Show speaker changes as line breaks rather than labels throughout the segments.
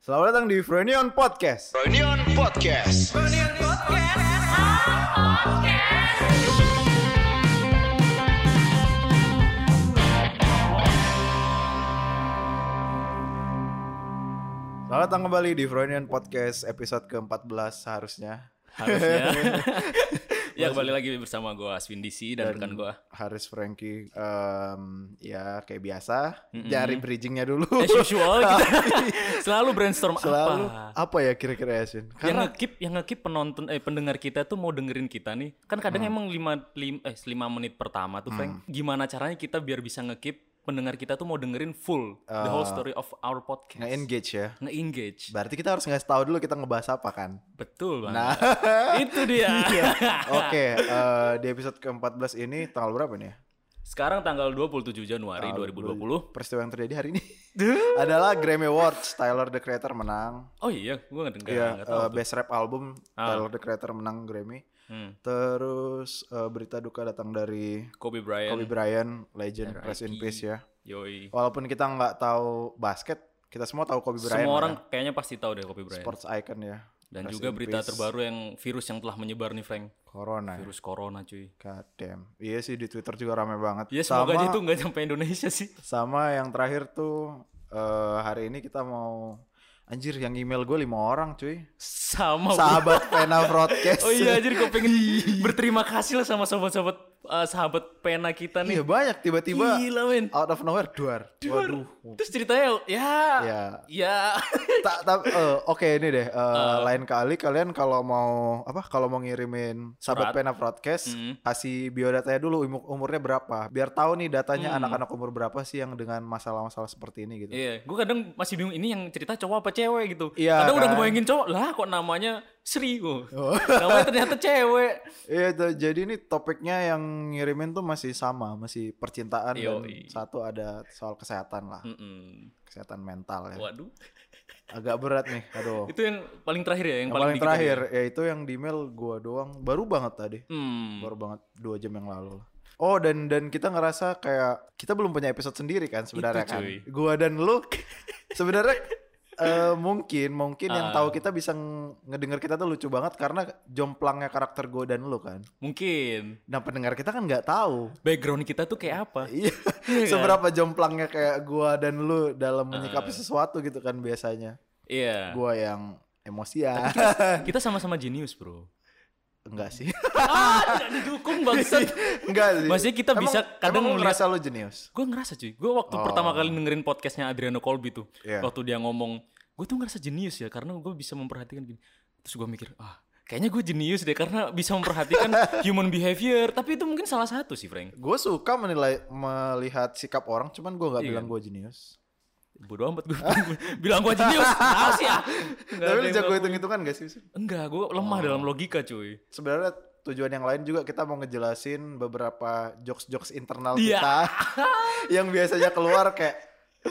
Selamat datang di Frenion Podcast.
Reunion Podcast.
Selamat datang kembali di Frenion Podcast episode ke-14 seharusnya.
harusnya ya kembali lagi bersama gue Aswin DC dan, rekan gue
Haris Frankie em, ya kayak biasa, cari bridgingnya dulu.
as usual kita selalu brainstorm
Selalu
Iya, apa
apa, ya kira-kira ya, Sin?
yang
Karena
ngekip yang ngekip penonton eh pendengar kita tuh mau dengerin kita nih kan kadang
Hmm.
emang lima, lim- eh lima menit pertama tuh Frank gimana caranya kita biar bisa ngekip pendengar kita tuh mau dengerin full the
Ah.
whole story of our podcast
nge-engage ya.
nge-engage
Berarti kita harus ngasih tahu dulu kita ngebahas apa kan?
betul banget
Nah. Iya.
itu dia
Oke, eh, di episode ke-14 ini tanggal berapa nih ya?
sekarang tanggal 27 Januari 2020
Peristiwa yang terjadi hari ini adalah Grammy Awards. Tyler the Creator menang.
oh iya gue nggak dengar
Iya,
nggak tahu
eh,
Ah.
best rap album Tyler the Creator menang Grammy.
Hmm.
Terus eh, berita duka datang dari
Kobe Bryant
Kobe Bryant, legend, rest in peace ya.
yoi
Walaupun kita nggak tahu basket, kita semua tahu Kobe Bryant.
Semua
lah
orang
ya.
kayaknya pasti tahu deh Kobe Bryant.
sports icon ya.
Dan
Rest
juga
in
berita
peace.
terbaru yang virus yang telah menyebar nih Frank.
corona. ya.
Virus corona cuy.
God damn. Iya sih di Twitter juga rame banget.
Ya
sama
semoga aja itu nggak sampai Indonesia sih.
sama yang terakhir tuh eh, hari ini kita mau anjir yang email gue lima orang cuy.
Sama. bro.
Sahabat Pena Broadcast.
Oh iya anjir gue pengen berterima kasih lah sama sobat-sobat eh, sahabat pena kita nih.
Iya banyak tiba-tiba
Gila men.
out of nowhere duar. Waduh.
Terus ceritanya ya
Ya.
ya
tak tak eh, oke ini deh eh, lain kali kalian kalau mau apa kalau mau ngirimin sahabat pena broadcast
Mm-hmm.
kasih biodatanya dulu umur umurnya berapa biar tahu nih datanya anak-anak umur berapa sih yang dengan masalah-masalah seperti ini gitu
Mm. Iya, gue kadang masih bingung ini yang cerita cowok apa cewek gitu.
Iya,
kadang udah
kan. Oh.
ngebayangin cowok lah kok namanya Sri gue. Namanya ternyata cewek.
iya tuh, jadi ini topiknya yang ngirimin tuh masih sama masih percintaan dan
Yoi. Mm.
satu ada soal kesehatan lah
Mm-mm.
kesehatan mental ya
Waduh,
agak berat nih aduh
itu yang paling terakhir ya, yang,
yang
paling,
paling
dikit tadi ya?
terakhir yaitu yang di email gua doang baru banget tadi
Hmm.
baru banget dua jam yang lalu lah. Oh dan dan kita ngerasa kayak kita belum punya episode sendiri kan sebenarnya
Itu,
kan.
cuy.
Gua dan lu sebenarnya eh, mungkin mungkin yang
Ah.
tahu kita bisa ng- ngedenger kita tuh lucu banget karena jomplangnya karakter gua dan lu kan.
Mungkin
Nah pendengar kita kan nggak tahu.
background kita tuh kayak apa?
Iya. Seberapa jomplangnya kayak gua dan lu dalam menyikapi
Ah.
sesuatu gitu kan biasanya.
Iya.
Gua yang emosian.
Kita sama-sama jenius, Bro.
Enggak sih.
ah, tidak didukung bangsat.
Enggak sih.
Maksudnya kita bisa kadang
emang lu
ngeliat-
ngerasa lu jenius.
Gue ngerasa cuy, gue waktu pertama kali dengerin podcastnya Adriano Colby tuh,
Iya.
waktu dia ngomong, gue tuh ngerasa jenius ya karena gue bisa memperhatikan gini. Terus gue mikir, ah, kayaknya gue jenius deh karena bisa memperhatikan human behavior. Tapi itu mungkin salah satu sih, Frank.
Gue suka menilai melihat sikap orang, cuman gue
Iya.
nggak bilang gue jenius.
Bodoh amat gue bilang gue jenius, tahu sih ya. Nggak ada
Tapi lu
yang
jago
tahu.
hitung-hitungan gak sih?
Enggak, gue lemah dalam logika cuy.
Sebenarnya tujuan yang lain juga kita mau ngejelasin beberapa jokes-jokes internal
Iya.
kita yang biasanya keluar kayak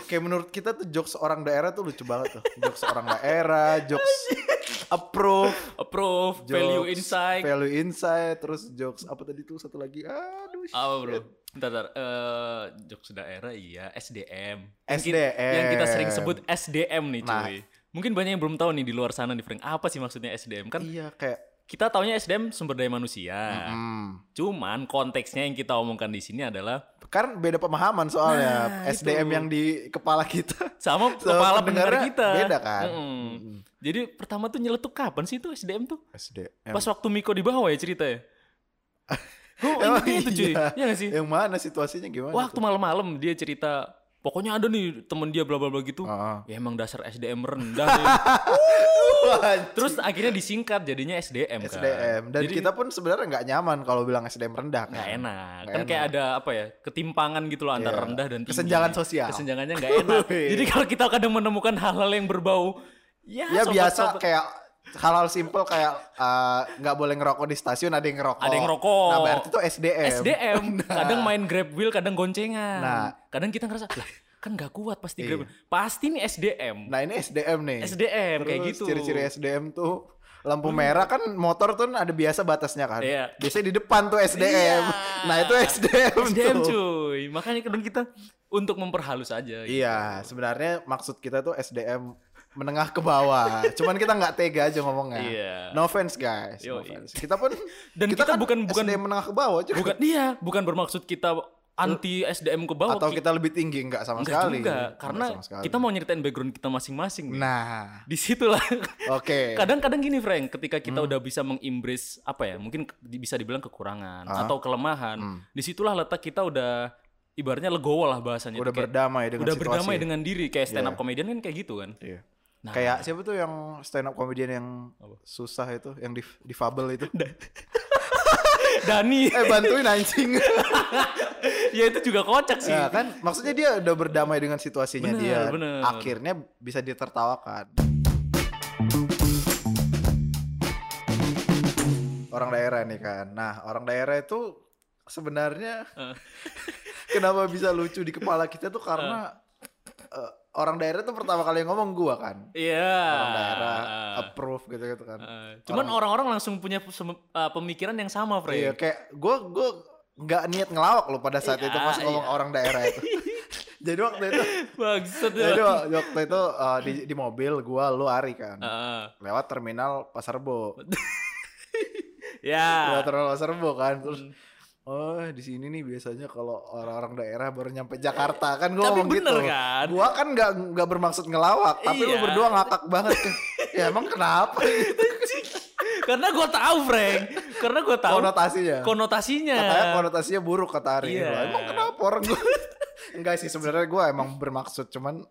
kayak menurut kita tuh jokes orang daerah tuh lucu banget tuh. Jokes orang daerah, jokes approve,
Approve,
jokes
value insight,
value insight, terus jokes apa tadi tuh satu lagi. Aduh.
Apa bro? Bentar, bentar. Eh, jokes daerah iya, SDM. Mungkin
SDM.
Yang kita sering sebut SDM nih cuy.
Nah.
Mungkin banyak yang belum tahu nih di luar sana nih Frank. Apa sih maksudnya SDM? Kan Nah.
Iya kayak
kita taunya SDM sumber daya manusia.
hmm.
Cuman konteksnya yang kita omongkan di sini adalah
Kan beda pemahaman soalnya
Nah,
SDM yang di kepala kita.
sama
Sama
kepala
pendengarnya
pendengar kita.
beda kan?
Mm-mm. Jadi pertama tuh nyeletuk kapan sih itu SDM tuh?
SDM.
Pas waktu Miko di bawah ya ceritanya. Gue
Emang
itu cuy.
iya?
Iya gak sih?
Yang mana situasinya gimana?
Waktu malam-malam dia cerita pokoknya ada nih temen dia bla bla bla gitu.
Heeh.
Ya emang dasar SDM rendah. nih.
terus
Terus akhirnya disingkat jadinya SDM kan.
SDM dan
Jadi
kita pun sebenarnya nggak nyaman kalau bilang SDM rendah kan.
nggak enak.
Nggak
kan kayak
enak.
ada apa ya? Ketimpangan gitu loh antara
Iya.
rendah dan tinggi.
Kesenjangan sosial. Iya.
Kesenjangannya nggak enak.
Wih.
Jadi kalau kita kadang menemukan hal-hal yang berbau ya,
Ya biasa
sobat-sobat-
kayak hal-hal simpel kayak eh, nggak boleh ngerokok di stasiun ada yang ngerokok.
Ada yang ngerokok.
Nah berarti itu SDM.
SDM. Kadang main Grab Wheel, kadang goncengan.
Nah.
Kadang kita ngerasa lah kan nggak kuat pasti
Iya.
Grab. Wheel." Pasti nih SDM.
Nah ini SDM nih.
SDM, kayak
Terus
gitu.
Ciri-ciri SDM tuh lampu merah kan motor tuh ada biasa batasnya kan.
Iya.
Biasanya di depan tuh SDM.
Iya.
Nah itu SDM,
SDM
tuh.
cuy. Makanya kadang kita untuk memperhalus aja. gitu.
Iya, sebenarnya maksud kita tuh SDM menengah ke bawah. Cuman kita nggak tega aja ngomongnya.
Iya.
No offense guys. No
Yoi.
offense. Kita pun
Dan kita
kan
bukan- bukan-
SD menengah ke bawah juga.
Bukan iya, bukan bermaksud kita anti SDM ke bawah.
Atau
Ki-
kita lebih tinggi nggak sama
enggak
sekali.
juga,
Nggak
karena
sama sekali.
kita mau nyeritain background kita masing-masing. nih.
Nah,
Di situlah.
oke. Hmm.
Kadang-kadang gini Frank, ketika kita udah bisa mengimbris apa ya, mungkin ke- di- bisa dibilang kekurangan
Ah.
atau kelemahan.
Hmm.
Disitulah letak kita udah ibaratnya legowo lah bahasanya.
Udah
Itu kayak-
berdamai dengan
udah
situasi.
berdamai dengan diri kayak stand up
Iya.
comedian kan kayak gitu kan.
Iya.
Nah,
Kayak siapa tuh yang stand up comedian yang
Apa?
susah itu, yang dif difabel itu.
Dani,
eh bantuin anjing.
ya itu juga kocak sih.
ya kan, maksudnya dia udah berdamai dengan situasinya
Bener,
dia.
bener.
Akhirnya bisa ditertawakan. Orang daerah nih kan. Nah, orang daerah itu sebenarnya
Eh.
kenapa bisa lucu di kepala kita tuh karena eh, orang daerah tuh pertama kali yang ngomong gua kan.
Iya.
Orang daerah
ah.
approve gitu-gitu kan.
Eh, cuman orang-orang langsung punya sem- eh, pemikiran yang sama, Frank.
Iya kayak gue gue nggak niat ngelawak loh pada saat itu
Iya,
pas ngomong orang daerah itu. jadi waktu itu,
Bangsat.
jadi wa- waktu itu uh, di, di mobil gue lu Ari kan,
Heeh.
lewat terminal Pasar Bo, lewat
ya.
terminal Pasar Bo kan, terus
Hmm.
oh di sini nih biasanya kalau orang-orang daerah baru nyampe Jakarta kan gue
Tapi
ngomong
bener
gitu.
kan?
Gue kan nggak nggak bermaksud ngelawak, tapi lu
Iya.
berdua ngakak banget. ya emang kenapa?
Karena gue tahu, Frank. Karena gue tahu
Konotasinya.
konotasinya.
katanya konotasinya buruk kata Ari
Iya.
Lah, emang kenapa orang gue enggak sih sebenarnya gue emang bermaksud cuman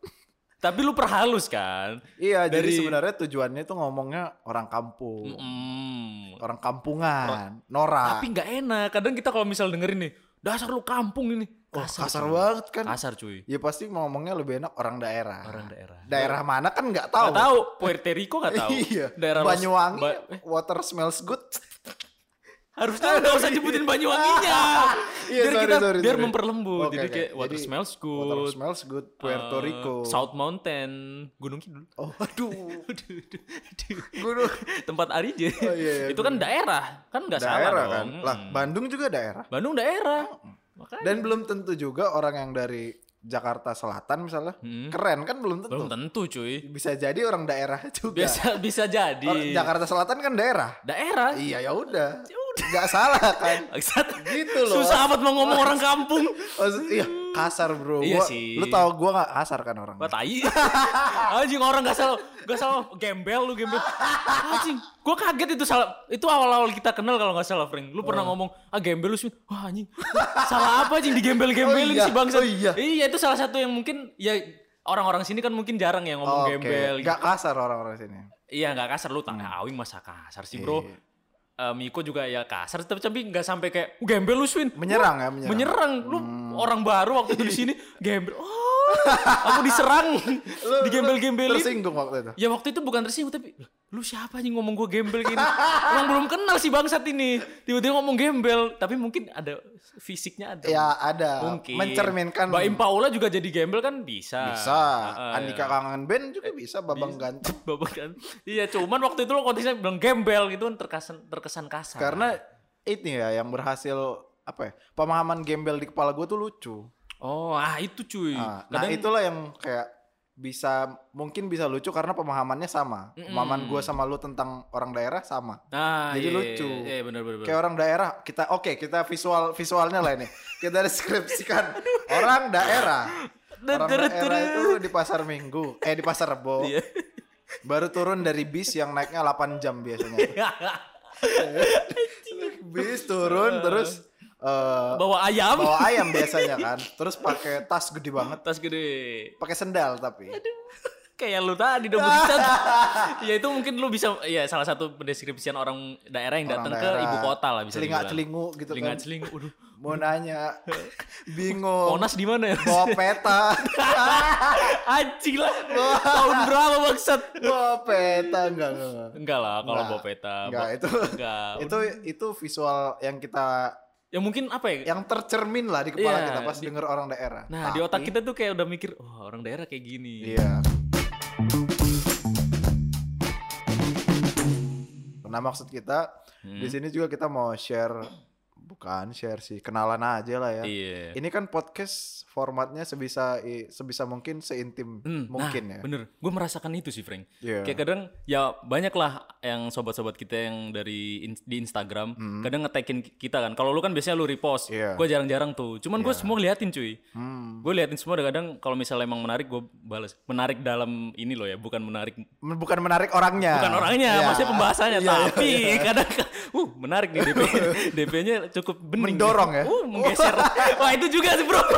Tapi lu perhalus kan?
iya jadi
Dari-
sebenarnya tujuannya tuh ngomongnya orang kampung
Mm.
orang kampungan norak
Tapi nggak enak. Kadang kita kalau misal dengerin nih, dasar lu kampung ini.
Wah, kasar,
cuy.
banget kan
Kasar cuy.
ya pasti ngomongnya lebih enak orang daerah
Orang daerah.
daerah mana kan nggak
Gak
tahu
tahu Puerto Rico gak tahu.
iya
Daerah Los-
Banyuwangi
Ba- eh?
water smells good
Harusnya udah usah nyebutin Banyuwanginya.
Iya,
biar
sorry,
kita
sorry,
biar
sorry.
memperlembut.
Oke,
Jadi
oke.
kayak water
Jadi,
smells good.
water smells good Puerto
eh,
Rico
South Mountain, Gunung Kidul.
oh aduh
Aduh, aduh, aduh.
gunung
Tempat Arije.
Oh, iya, iya,
Itu kan daerah, kan nggak salah
daerah
dong. Hmm.
kan lah Oh, Bandung juga daerah
Bandung daerah. Makanya
Dan belum tentu juga orang yang dari Jakarta Selatan misalnya
Hmm.
keren kan belum tentu.
belum tentu cuy.
Bisa jadi orang daerah juga.
Biasa bisa jadi.
Orang Jakarta Selatan kan daerah.
Daerah.
Iya ya udah. Nggak salah kan.
Bangsat.
Gitu loh.
Susah amat mau ngomong orang kampung.
Maksud- iya kasar bro.
Iya
Gua-
sih.
Lu tau gue gak kasar kan orang.
Gua tai. Anjing orang gak salah, gak salah gembel lu gembel. Anjing, gua kaget itu salah. Itu awal-awal kita kenal kalau gak salah, Frank. Lu pernah
Oh.
ngomong, "Ah, gembel lu sih." Wah, anjing. Salah apa anjing
Oh,
digembel-gembelin
iya.
si bangsa?
Oh, iya.
itu salah satu yang mungkin ya orang-orang sini kan mungkin jarang ya
Oh,
ngomong
Oke.
gembel.
Nggak kasar orang-orang sini.
Iya, gak kasar lu tanah awing masa kasar sih, Bro.
Hmm. Iya.
Eh, Miko juga ya kasar tapi tapi nggak sampai kayak "Oh, gembel lu Swin
Menyerang ya menyerang. Hmm.
menyerang lu orang baru waktu itu di sini gembel oh aku diserang
Lu- lu
digembel-gembelin
Tersinggung waktu itu.
Ya waktu itu bukan tersinggung tapi "Lah, lu siapa nih ngomong gue gembel gini? Orang belum kenal si bangsat ini. Tiba-tiba ngomong gembel, tapi mungkin ada fisiknya ada.
Ya ada.
mungkin.
Mencerminkan.
Baim Paula juga jadi gembel kan bisa.
Bisa.
Heeh.
Andika Kangen Band juga
Eh,
bisa. Babang Ganteng.
Bapak kan. Iya, cuman waktu itu lo konteksnya bilang gembel gitu kan terkesan terkesan kasar.
Karena ini ya yang berhasil apa ya pemahaman gembel di kepala gue tuh lucu.
oh, ah itu cuy.
Nah, nah,
Kadang-
itulah yang kayak bisa mungkin bisa lucu karena pemahamannya sama.
Hmm.
Pemahaman gue sama lu tentang orang daerah sama.
Nah,
jadi
iya, iya,
lucu.
Iya, benar benar. benar.
Kayak orang daerah kita oke kita visual visualnya lah ini kita deskripsikan orang daerah. Orang
Deret,
daerah
deret.
itu di pasar Minggu, eh di pasar Rebo.
Iya.
Baru turun dari bis yang naiknya 8 jam biasanya. bis turun terus eh,
Bawa ayam,
bawa ayam biasanya kan terus pakai tas gede banget
tas gede.
pakai sendal tapi
kayak lu tadi dong budicat ya itu mungkin lu bisa ya salah satu pendeskripsian orang daerah yang datang ke ibu kota lah bisa
celingak
dibilang.
celingu gitu
celingak
kan
celingu aduh
mau nanya bingung
Monas di mana ya
bawa peta
anjing lah tahun berapa maksud
bawa peta enggak enggak, enggak.
enggak lah kalau
Enggak.
Ah, bawa peta
enggak itu
enggak
itu itu visual yang kita
ya mungkin apa ya
yang tercermin lah di kepala
Iya,
kita pas
di-
denger orang daerah
nah di otak
Tapi-
kita tuh kayak udah mikir wah orang daerah kayak gini
Iya.
Hmm.
Nah maksud kita di sini juga kita mau share bukan share sih kenalan aja lah ya
Iya.
ini kan podcast formatnya sebisa i- sebisa mungkin seintim
Hmm,
mungkin
nah,
ya
Bener, gue merasakan itu sih, Frank.
Iya.
Kayak kadang ya banyak lah yang sobat-sobat kita yang dari in- di Instagram kadang ngetekin ki- kita kan. Kalau lu kan biasanya lu repost,
Hmm. Iya.
gue jarang-jarang tuh. Cuman gue semua liatin cuy.
Hmm.
Gue liatin semua. dan Kadang kalau misalnya emang menarik gue balas. Menarik dalam ini loh ya, bukan menarik
Men- bukan menarik orangnya
bukan orangnya,
Iya.
maksudnya pembahasannya.
Iya, iya,
Tapi
iya.
kadang, uh menarik nih DP, DP-nya cukup bening.
Mendorong ya?
Uh, menggeser. Wah itu juga sih bro.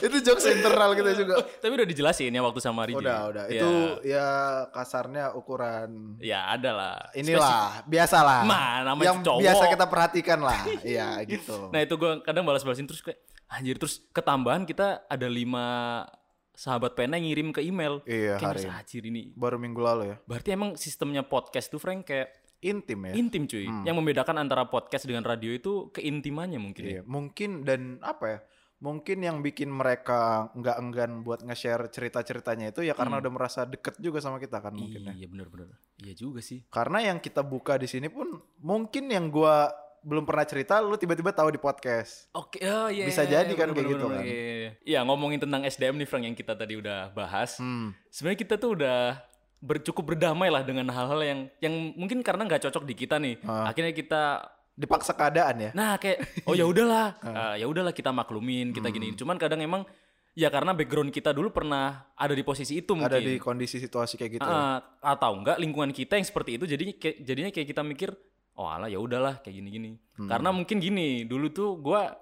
itu jokes internal kita juga
Tapi udah dijelasin ya waktu sama Riji.
udah udah
Ya.
itu ya kasarnya ukuran
Ya ada lah.
inilah biasalah
Mah, Nah, namanya
yang
cowok.
biasa kita perhatikan lah iya gitu
Nah itu gue kadang balas-balasin terus kayak anjir terus ketambahan kita ada lima sahabat pena yang ngirim ke email.
Iya,
Kayak
hari
masa anjir ini.
baru minggu lalu ya
Berarti emang sistemnya podcast tuh Frank kayak
intim ya
intim cuy. Yang membedakan antara podcast dengan radio itu keintimannya mungkin. ya.
Iya, mungkin dan apa ya? Mungkin yang bikin mereka nggak enggan buat nge-share cerita-ceritanya itu ya karena udah merasa deket juga sama kita kan mungkin ya.
Hmm. Iya bener-bener. Iya juga sih.
Karena yang kita buka di sini pun mungkin yang gua belum pernah cerita lu tiba-tiba tahu di podcast.
Oke, oh, iya,
Bisa
iya,
jadi kan kayak
bener, bener,
gitu
bener,
kan.
iya, iya, iya. Iya, ngomongin tentang SDM nih Frank yang kita tadi udah bahas.
Hmm.
Sebenarnya kita tuh udah ber- cukup berdamai lah dengan hal-hal yang yang mungkin karena nggak cocok di kita nih.
Ah.
Akhirnya kita
Dipaksa keadaan ya.
Nah kayak oh ya udahlah,
Ah.
eh, ya udahlah kita maklumin,
Hmm.
kita gini. Cuman kadang emang ya karena background kita dulu pernah ada di posisi itu mungkin.
Ada di kondisi situasi kayak gitu. ya.
Eh, atau enggak lingkungan kita yang seperti itu jadi kayak- jadinya kayak kita mikir oh alah ya udahlah kayak gini-gini.
Hmm.
Karena mungkin gini, dulu tuh gua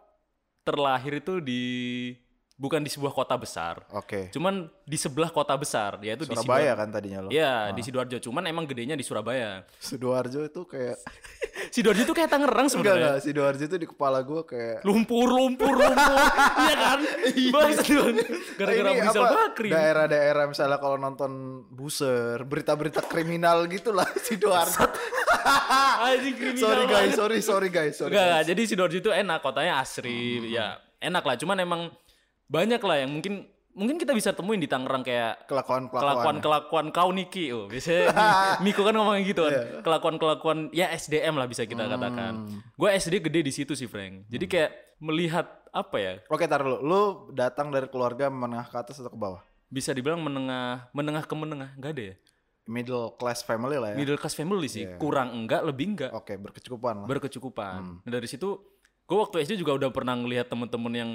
terlahir itu di bukan di sebuah kota besar.
Oke.
Cuman di sebelah kota besar yaitu
Surabaya
di Sidoarjo.
kan tadinya lo.
Iya, di Sidoarjo. Cuman emang gedenya di Surabaya.
Sidoarjo itu kayak
Sidoarjo itu kayak Tangerang
enggak
sebenarnya.
enggak Sidoarjo itu di kepala gua kayak
lumpur lumpur lumpur iya kan bangsat kan gara-gara
Ini
Rizal
apa,
Bakri
Daerah-daerah misalnya kalau nonton buser, berita-berita kriminal gitu lah Sidoarjo.
anjing Ah, kriminal
sorry guys,
banget.
sorry, sorry guys, Hmm. sorry.
Enggak, enggak. jadi Sidoarjo itu enak kotanya asri ya enak lah cuman emang banyak lah yang mungkin mungkin kita bisa temuin di Tangerang kayak
Kelakuan kelakuan.
kelakuan kelakuan kau Niki oh biasanya Miko kan ngomongnya gitu kan kelakuan kelakuan ya SDM lah bisa kita katakan gue SD gede di situ sih Frank jadi kayak melihat apa ya
Oke, tar lu. Lu datang dari keluarga menengah ke atas atau ke bawah?
bisa dibilang menengah menengah ke menengah nggak ada ya
Middle class family lah ya.
middle class family sih kurang enggak lebih enggak
Oke, berkecukupan lah.
berkecukupan nah, dari situ gue waktu SD juga udah pernah ngelihat temen-temen yang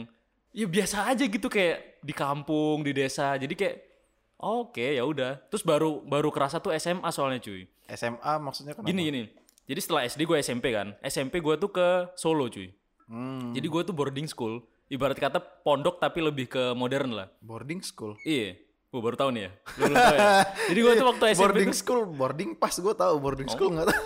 ya biasa aja gitu kayak di kampung di desa jadi kayak oh, oke ya udah terus baru baru kerasa tuh SMA soalnya cuy
SMA maksudnya kenapa?
gini gini jadi setelah SD gue SMP kan SMP gue tuh ke Solo cuy
Hmm,
jadi gue tuh boarding school ibarat kata pondok tapi lebih ke modern lah
boarding school.
iya gue baru tahu nih ya Lu belum tahu ya? jadi gue tuh waktu SMP
Boarding school, boarding pas gue tahu boarding
Oh.
school nggak tahu.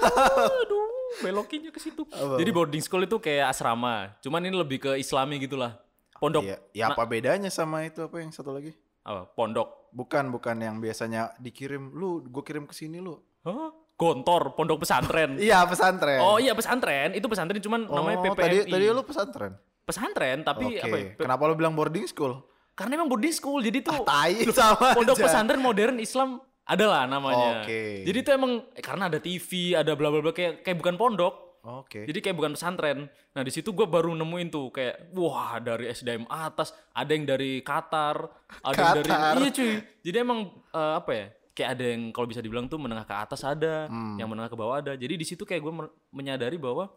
aduh belokinnya ke situ. Jadi boarding school itu kayak asrama, cuman ini lebih ke islami gitulah. Pondok
Ya, ya apa bedanya sama itu apa yang satu lagi?
apa? Pondok.
Bukan bukan yang biasanya dikirim lu, gue kirim ke sini lu.
Hah? Gontor, pondok pesantren.
Iya, pesantren.
oh iya pesantren, itu pesantren cuman namanya
Oh,
PPMI.
Tadi tadi lu pesantren.
pesantren tapi
Oke.
apa? ya?
Kenapa lu bilang boarding school? Ah,
Karena emang boarding school jadi tuh
Tai sama
pondok
aja.
pesantren modern Islam adalah namanya.
Oke.
Jadi itu emang eh, karena ada TV, ada bla bla bla kayak kayak bukan pondok.
Oke.
Jadi kayak bukan pesantren. Nah di situ gue baru nemuin tuh kayak wah dari SDM atas, ada yang dari Qatar, ada yang dari
Qatar.
iya cuy. Jadi emang eh, apa ya? Kayak ada yang kalau bisa dibilang tuh menengah ke atas ada,
Hmm.
yang menengah ke bawah ada. Jadi di situ kayak gue menyadari bahwa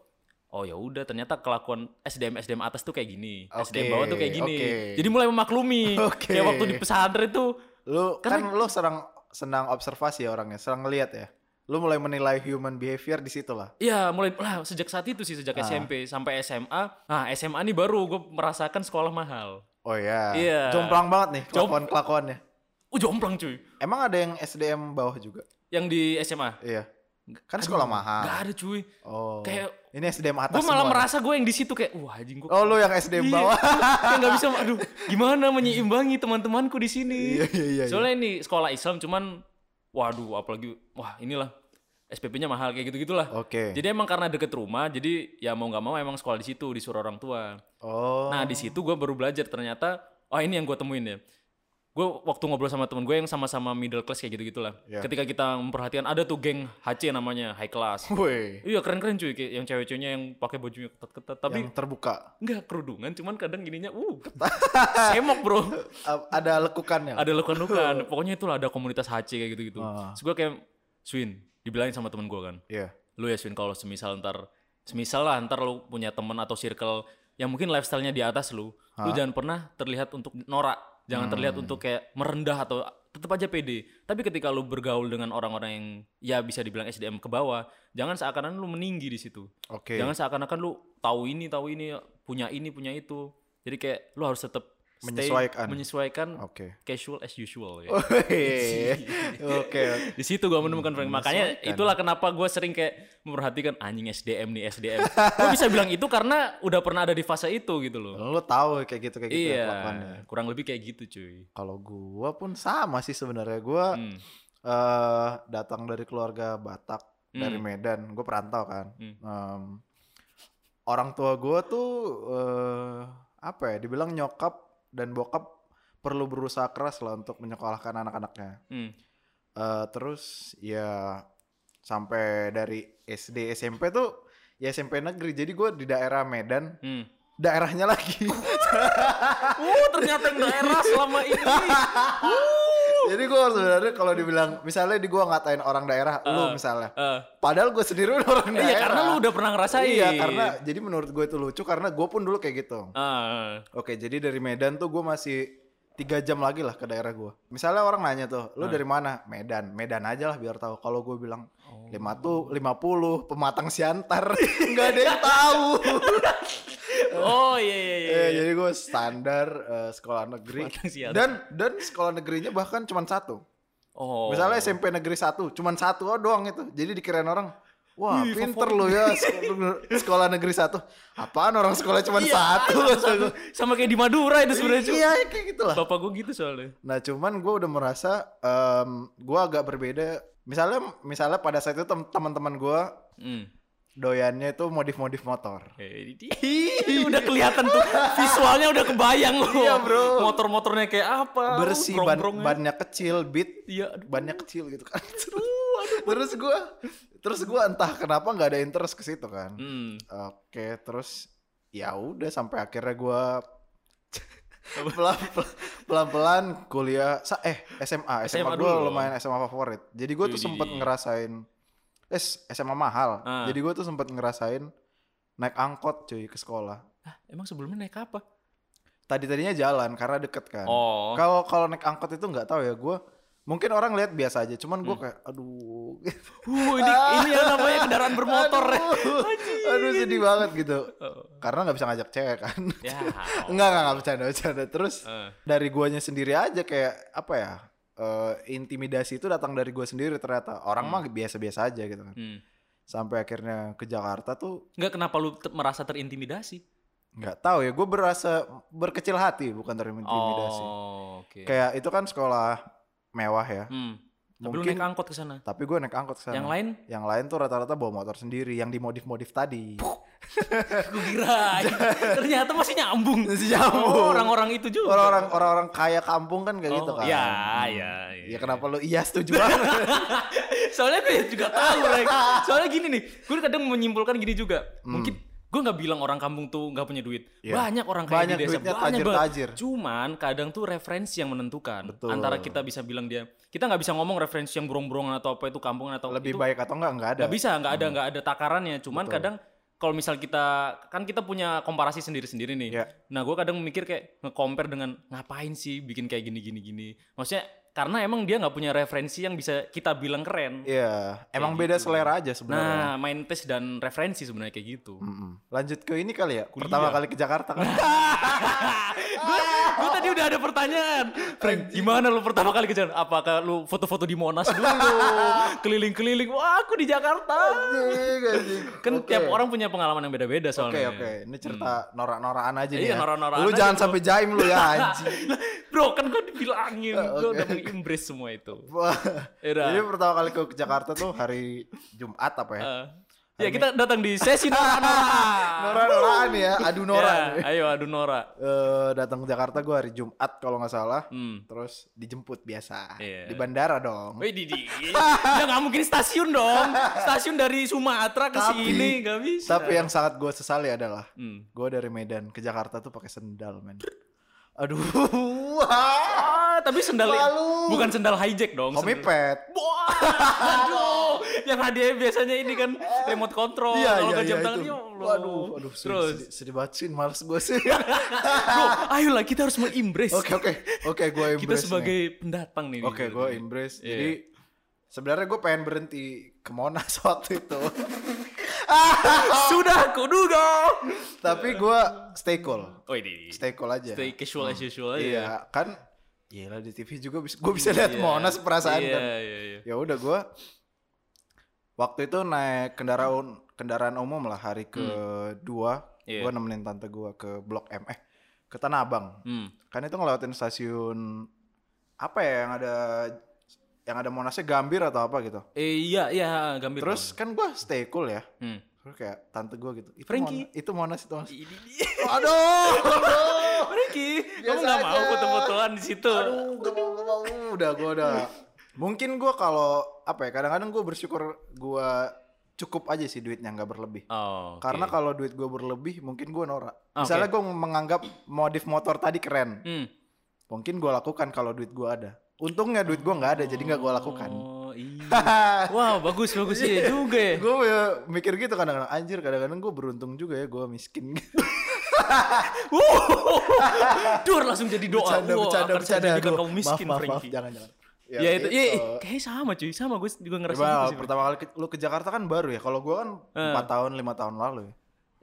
oh ya udah ternyata kelakuan SDM SDM atas tuh kayak gini,
Oke,
SDM bawah tuh kayak gini.
oke.
Jadi mulai memaklumi.
Oke.
Kayak waktu di pesantren tuh
Lu kan lu serang senang observasi ya orangnya, senang ngeliat ya. Lu mulai menilai human behavior di situ lah.
Iya mulai lah sejak saat itu
Ah.
sih sejak SMP sampai SMA. Nah SMA nih baru gue merasakan sekolah mahal.
Oh ya.
Iya.
Jomplang banget nih
Jom-
kelakuan-kelakuannya.
Oh jomplang cuy.
Emang ada yang SDM bawah juga?
Yang di SMA.
Iya. Kan sekolah mahal.
Gak ada cuy.
Oh.
Kayak-
ini SDM atas
Gue malah
semua.
merasa Iya. gue yang di situ kayak wah anjing gue.
Oh, lu yang SDM bawah.
kayak gak bisa aduh gimana menyeimbangi teman-temanku di sini.
Iya, iya, iya,
Soalnya ini sekolah Islam cuman waduh apalagi wah inilah SPP-nya mahal kayak gitu-gitulah.
Oke.
Jadi emang karena deket rumah jadi ya mau nggak mau emang sekolah di situ disuruh orang tua.
Oh.
Nah di situ gue baru belajar ternyata oh ini yang gue temuin ya gue waktu ngobrol sama temen gue yang sama-sama middle class kayak gitu gitulah
Iya.
ketika kita memperhatikan ada tuh geng HC namanya high class
Woi,
iya keren-keren cuy kayak yang cewek-ceweknya yang pakai bajunya ketat-ketat tapi
yang terbuka.
nggak kerudungan cuman kadang gininya uh ketat. semok bro
A- ada lekukannya.
ada lukan-lukan pokoknya itulah ada komunitas HC kayak gitu-gitu
Ah.
terus gue kayak Swin dibilangin sama temen gue kan
Iya.
lu ya Swin kalau semisal ntar semisal lah ntar lu punya temen atau circle yang mungkin lifestyle-nya di atas lu lu jangan pernah terlihat untuk norak jangan
Hmm.
terlihat untuk kayak merendah atau tetap aja pede tapi ketika lu bergaul dengan orang-orang yang ya bisa dibilang SDM ke bawah jangan seakan-akan lu meninggi di situ
Oke.
jangan seakan-akan lu tahu ini tahu ini punya ini punya itu jadi kayak lu harus tetap stay-
Menyesuaikan.
menyesuaikan
Oke.
casual as usual ya.
Woi. Oke. Oh,
di situ gue menemukan
Hmm,
Frank makanya itulah kenapa gue sering kayak memperhatikan anjing SDM nih SDM gue bisa bilang itu karena udah pernah ada di fase itu gitu loh
Lu tahu Oh, kayak gitu kayak gitu ya Eh.
iya
kelakuannya.
kurang lebih kayak gitu cuy
Kalau gua pun sama sih sebenarnya. Gua
Hmm.
eh datang dari keluarga Batak dari
Hmm.
Medan. Gue perantau kan.
Hmm.
Em, orang tua gue tuh eh apa ya? Dibilang nyokap dan bokap perlu berusaha keras lah untuk menyekolahkan anak-anaknya.
Hmm.
Eh, terus ya sampai dari SD SMP tuh ya SMP negeri. Jadi gue di daerah Medan,
Hmm.
daerahnya lagi.
Oh ternyata yang daerah selama ini.
Jadi gue sebenarnya kalau dibilang misalnya di gue ngatain orang daerah, lu misalnya.
Eh,
Padal gue sendiri udah orang daerah.
iya karena lu udah pernah ngerasain.
Iya karena jadi menurut gue itu lucu karena gue pun dulu kayak gitu.
Ah,
Oke jadi dari Medan tuh gue masih tiga jam lagi lah ke daerah gue. Misalnya orang nanya tuh, lu
Eh.
dari mana? Medan, Medan aja lah biar tahu. Kalau gue bilang
Oh.
lima tuh lima puluh pematang siantar, nggak ada yang tahu.
oh iya iya iya.
Eh, jadi gue standar eh, sekolah negeri
Pematang Siantar.
dan dan sekolah negerinya bahkan cuma satu.
Oh.
Misalnya SMP negeri satu, cuman satu oh doang itu. Jadi dikirain orang, wah
Wih,
pinter lo ya sekolah- sekolah negeri satu. Apaan orang sekolah cuman Iya, satu? Kata gua.
sama kayak di Madura itu sebenarnya cuy.
iya kayak gitulah.
Bapak gue gitu soalnya.
Nah cuman gue udah merasa gue agak berbeda. Misalnya misalnya pada saat itu tem- teman-teman gue
Hmm.
doyannya itu modif-modif motor.
Eh, di- Itu udah kelihatan tuh visualnya udah kebayang loh.
Iya, bro.
Motor-motornya kayak apa?
Bersih ban
grong-grongnya.
bannya kecil, beat
Iya. aduh.
bannya kecil gitu kan. terus gue terus gue entah kenapa nggak ada interest ke situ kan.
Hmm.
Oke, terus ya udah sampai akhirnya gua pelan pelan pelan kuliah sa eh SMA SMA,
SMA
gua
dulu.
lumayan SMA favorit. Jadi gua tuh
Widih.
sempet ngerasain eh s- SMA mahal.
Ah.
Jadi gua tuh sempet ngerasain naik angkot cuy ke sekolah.
Hah, emang sebelumnya naik apa?
Tadi tadinya jalan karena deket kan.
Oh.
Kalau kalau naik angkot itu nggak tahu ya gua mungkin orang lihat biasa aja, cuman
Hmm.
gua kayak aduh.
Wuh, ini ini yang namanya kendaraan bermotor.
aduh, aduh sedih banget gitu.
Oh.
Karena nggak bisa ngajak cewek kan.
ya.
Enggak, enggak, enggak bercanda, bercanda. Terus
Eh.
dari guanya sendiri aja kayak apa ya? eh, intimidasi itu datang dari gua sendiri ternyata. Orang mah biasa-biasa aja gitu kan.
Hmm.
Sampai akhirnya ke Jakarta tuh
Enggak kenapa lu te- merasa terintimidasi?
nggak tahu ya, gue berasa berkecil hati bukan terintimidasi.
Oh, oke.
Kayak itu kan sekolah mewah ya.
Hmm. Tapi lu
Mungkin-
naik angkot ke sana.
Tapi gue naik angkot kesana.
Yang lain
Yang lain tuh rata-rata bawa motor sendiri yang dimodif-modif tadi.
gue kira ternyata masih nyambung.
Masih nyambung.
Oh, orang-orang itu juga.
Orang-orang orang-orang kaya kampung kan kayak gitu
Oh,
kan.
iya,
Hmm.
iya, iya.
Ya kenapa lu iya setuju banget?
soalnya gue juga tahu Rek. soalnya gini nih gue kadang menyimpulkan gini juga mungkin gue nggak bilang orang kampung tuh nggak punya duit
Hmm. Iya.
banyak orang kaya
Banyak
di desa
duitnya,
banyak banget.
tajir-tajir.
cuman kadang tuh referensi yang menentukan
Betul.
antara kita bisa bilang dia kita nggak bisa ngomong referensi yang burung-burungan atau apa itu kampung atau
Lebih
itu
baik atau enggak? Enggak ada. Hmm.
nggak bisa nggak ada nggak ada takarannya cuman kadang kalau misal kita kan kita punya komparasi sendiri-sendiri nih
Iya.
nah gue kadang mikir kayak nge-compare dengan ngapain sih bikin kayak gini gini gini maksudnya karena emang dia nggak punya referensi yang bisa kita bilang keren
Iya, emang beda selera aja sebenarnya.
Nah, main tes dan referensi sebenarnya kayak gitu.
Mm-mm. Lanjut ke ini kali ya, pertama kali ke Jakarta kan.
Gue tadi udah ada pertanyaan. Frank, gimana lu pertama kali ke Jakarta? Apakah lu foto-foto di Monas dulu? Keliling-keliling. Wah, aku di Jakarta.
Anjing, anjing.
Kan
Oke.
tiap orang punya pengalaman yang beda-beda
Oke,
soalnya.
oke. Ini cerita Mm. norak-norakan aja nih.
Iya,
ya.
norak-norakan
Lu
aja,
jangan
bro.
sampai jaim lu ya, anjing.
Bro, kan gue dibilangin. Gue udah meng-embrace semua itu.
Wah.
Yaudah.
Jadi pertama kali ke Jakarta tuh hari Jumat apa ya?
Eh, Ya kita datang di sesi Nora-Nora.
Nora-noraan ya, adu Nora.
Ya, ayo adu Nora.
Eh, datang ke Jakarta gue hari Jumat kalau nggak salah.
Hmm.
Terus dijemput biasa
Iya.
di bandara dong.
Wih Didi, ya nggak mungkin stasiun dong. Stasiun dari Sumatera ke
Tapi-
sini nggak bisa.
Tapi yang sangat gue sesali adalah
Hmm.
gue dari Medan ke Jakarta tuh pakai sendal men. Aduh,
Ah, tapi sendal
Malu.
bukan sendal hijack dong. sendal-
komipet.
Wah, aduh, yang hadiahnya biasanya ini kan remote control. Kalau nggak jam tangan,
Iya, itu.
ya Allah.
Waduh, aduh, sedih,
Terus,
sedih, sedih banget sih, males gue sih.
bro, ayolah kita harus mengimbrace.
Oke, oke, oke, gue
kita
embrace nih.
sebagai pendatang nih.
Oke,
gitu.
gue embrace. Jadi sebenarnya gue pengen berhenti ke Monas waktu itu,
Ah, sudah kuduga.
tapi gue stay cool,
Oh ini,
stay cool aja.
stay casual as usual aja.
Iya, kan? Iya di TV juga bisa, gue bisa lihat
Iya.
Monas perasaan
Iya,
kan.
iya, iya.
Ya udah gue waktu itu naik kendaraan kendaraan umum lah hari kedua,
Hmm. Iya.
gue nemenin tante gue ke Blok M eh ke Tanah Abang.
Hmm.
kan itu ngelewatin stasiun apa ya yang ada yang ada monasnya Gambir atau apa gitu
Eh, iya, iya, gambir.
terus kan gue stay cool ya
dong. Hmm.
terus kayak tante gue gitu itu
Frankie. Iya.
Monas- itu monas itu monas
Ini
aduh
Ricky, kamu
Biasa
nggak mau
aja.
foto-fotoan di situ?
aduh gak mau gak mau udah gue udah mungkin gue kalau apa ya kadang-kadang gue bersyukur gue cukup aja sih duitnya nggak berlebih
Oh, oke. Ah,
karena kalau duit gue berlebih mungkin gue norak
Oke.
misalnya gue menganggap modif motor tadi keren
Hmm.
mungkin gue lakukan kalau duit gue ada untungnya duit gue nggak ada jadi nggak gue lakukan
Oh, iya. Wow, bagus bagus iya juga ya.
gue mikir gitu kadang-kadang anjir kadang-kadang gue beruntung juga ya gue miskin
Dur langsung jadi doa.
bercanda
Wow,
bercanda
akan saya
bercanda
jadikan
Aduh,
kamu miskin,
maaf, maaf, maaf,
Frankie.
jangan jangan gitu.
Ya, itu, iya, iya, kayaknya sama cuy, sama gue juga
Coba,
ngerasa gitu sih. Eh. Frank.
pertama kali ke- lu ke Jakarta kan baru ya kalau gue kan empat tahun lima tahun lalu ya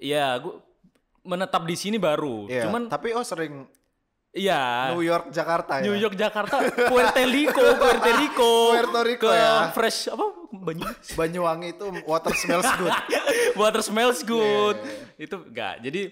Iya, gue menetap di sini baru.
Iya,
Cuman
tapi oh sering
iya
New York Jakarta ya
New York Jakarta, Puerto Rico, Puerto Rico,
Puerto Rico
ke
ya.
fresh apa banyu
Banyuwangi itu water smells good Iya,
water smells good. Itu enggak. Jadi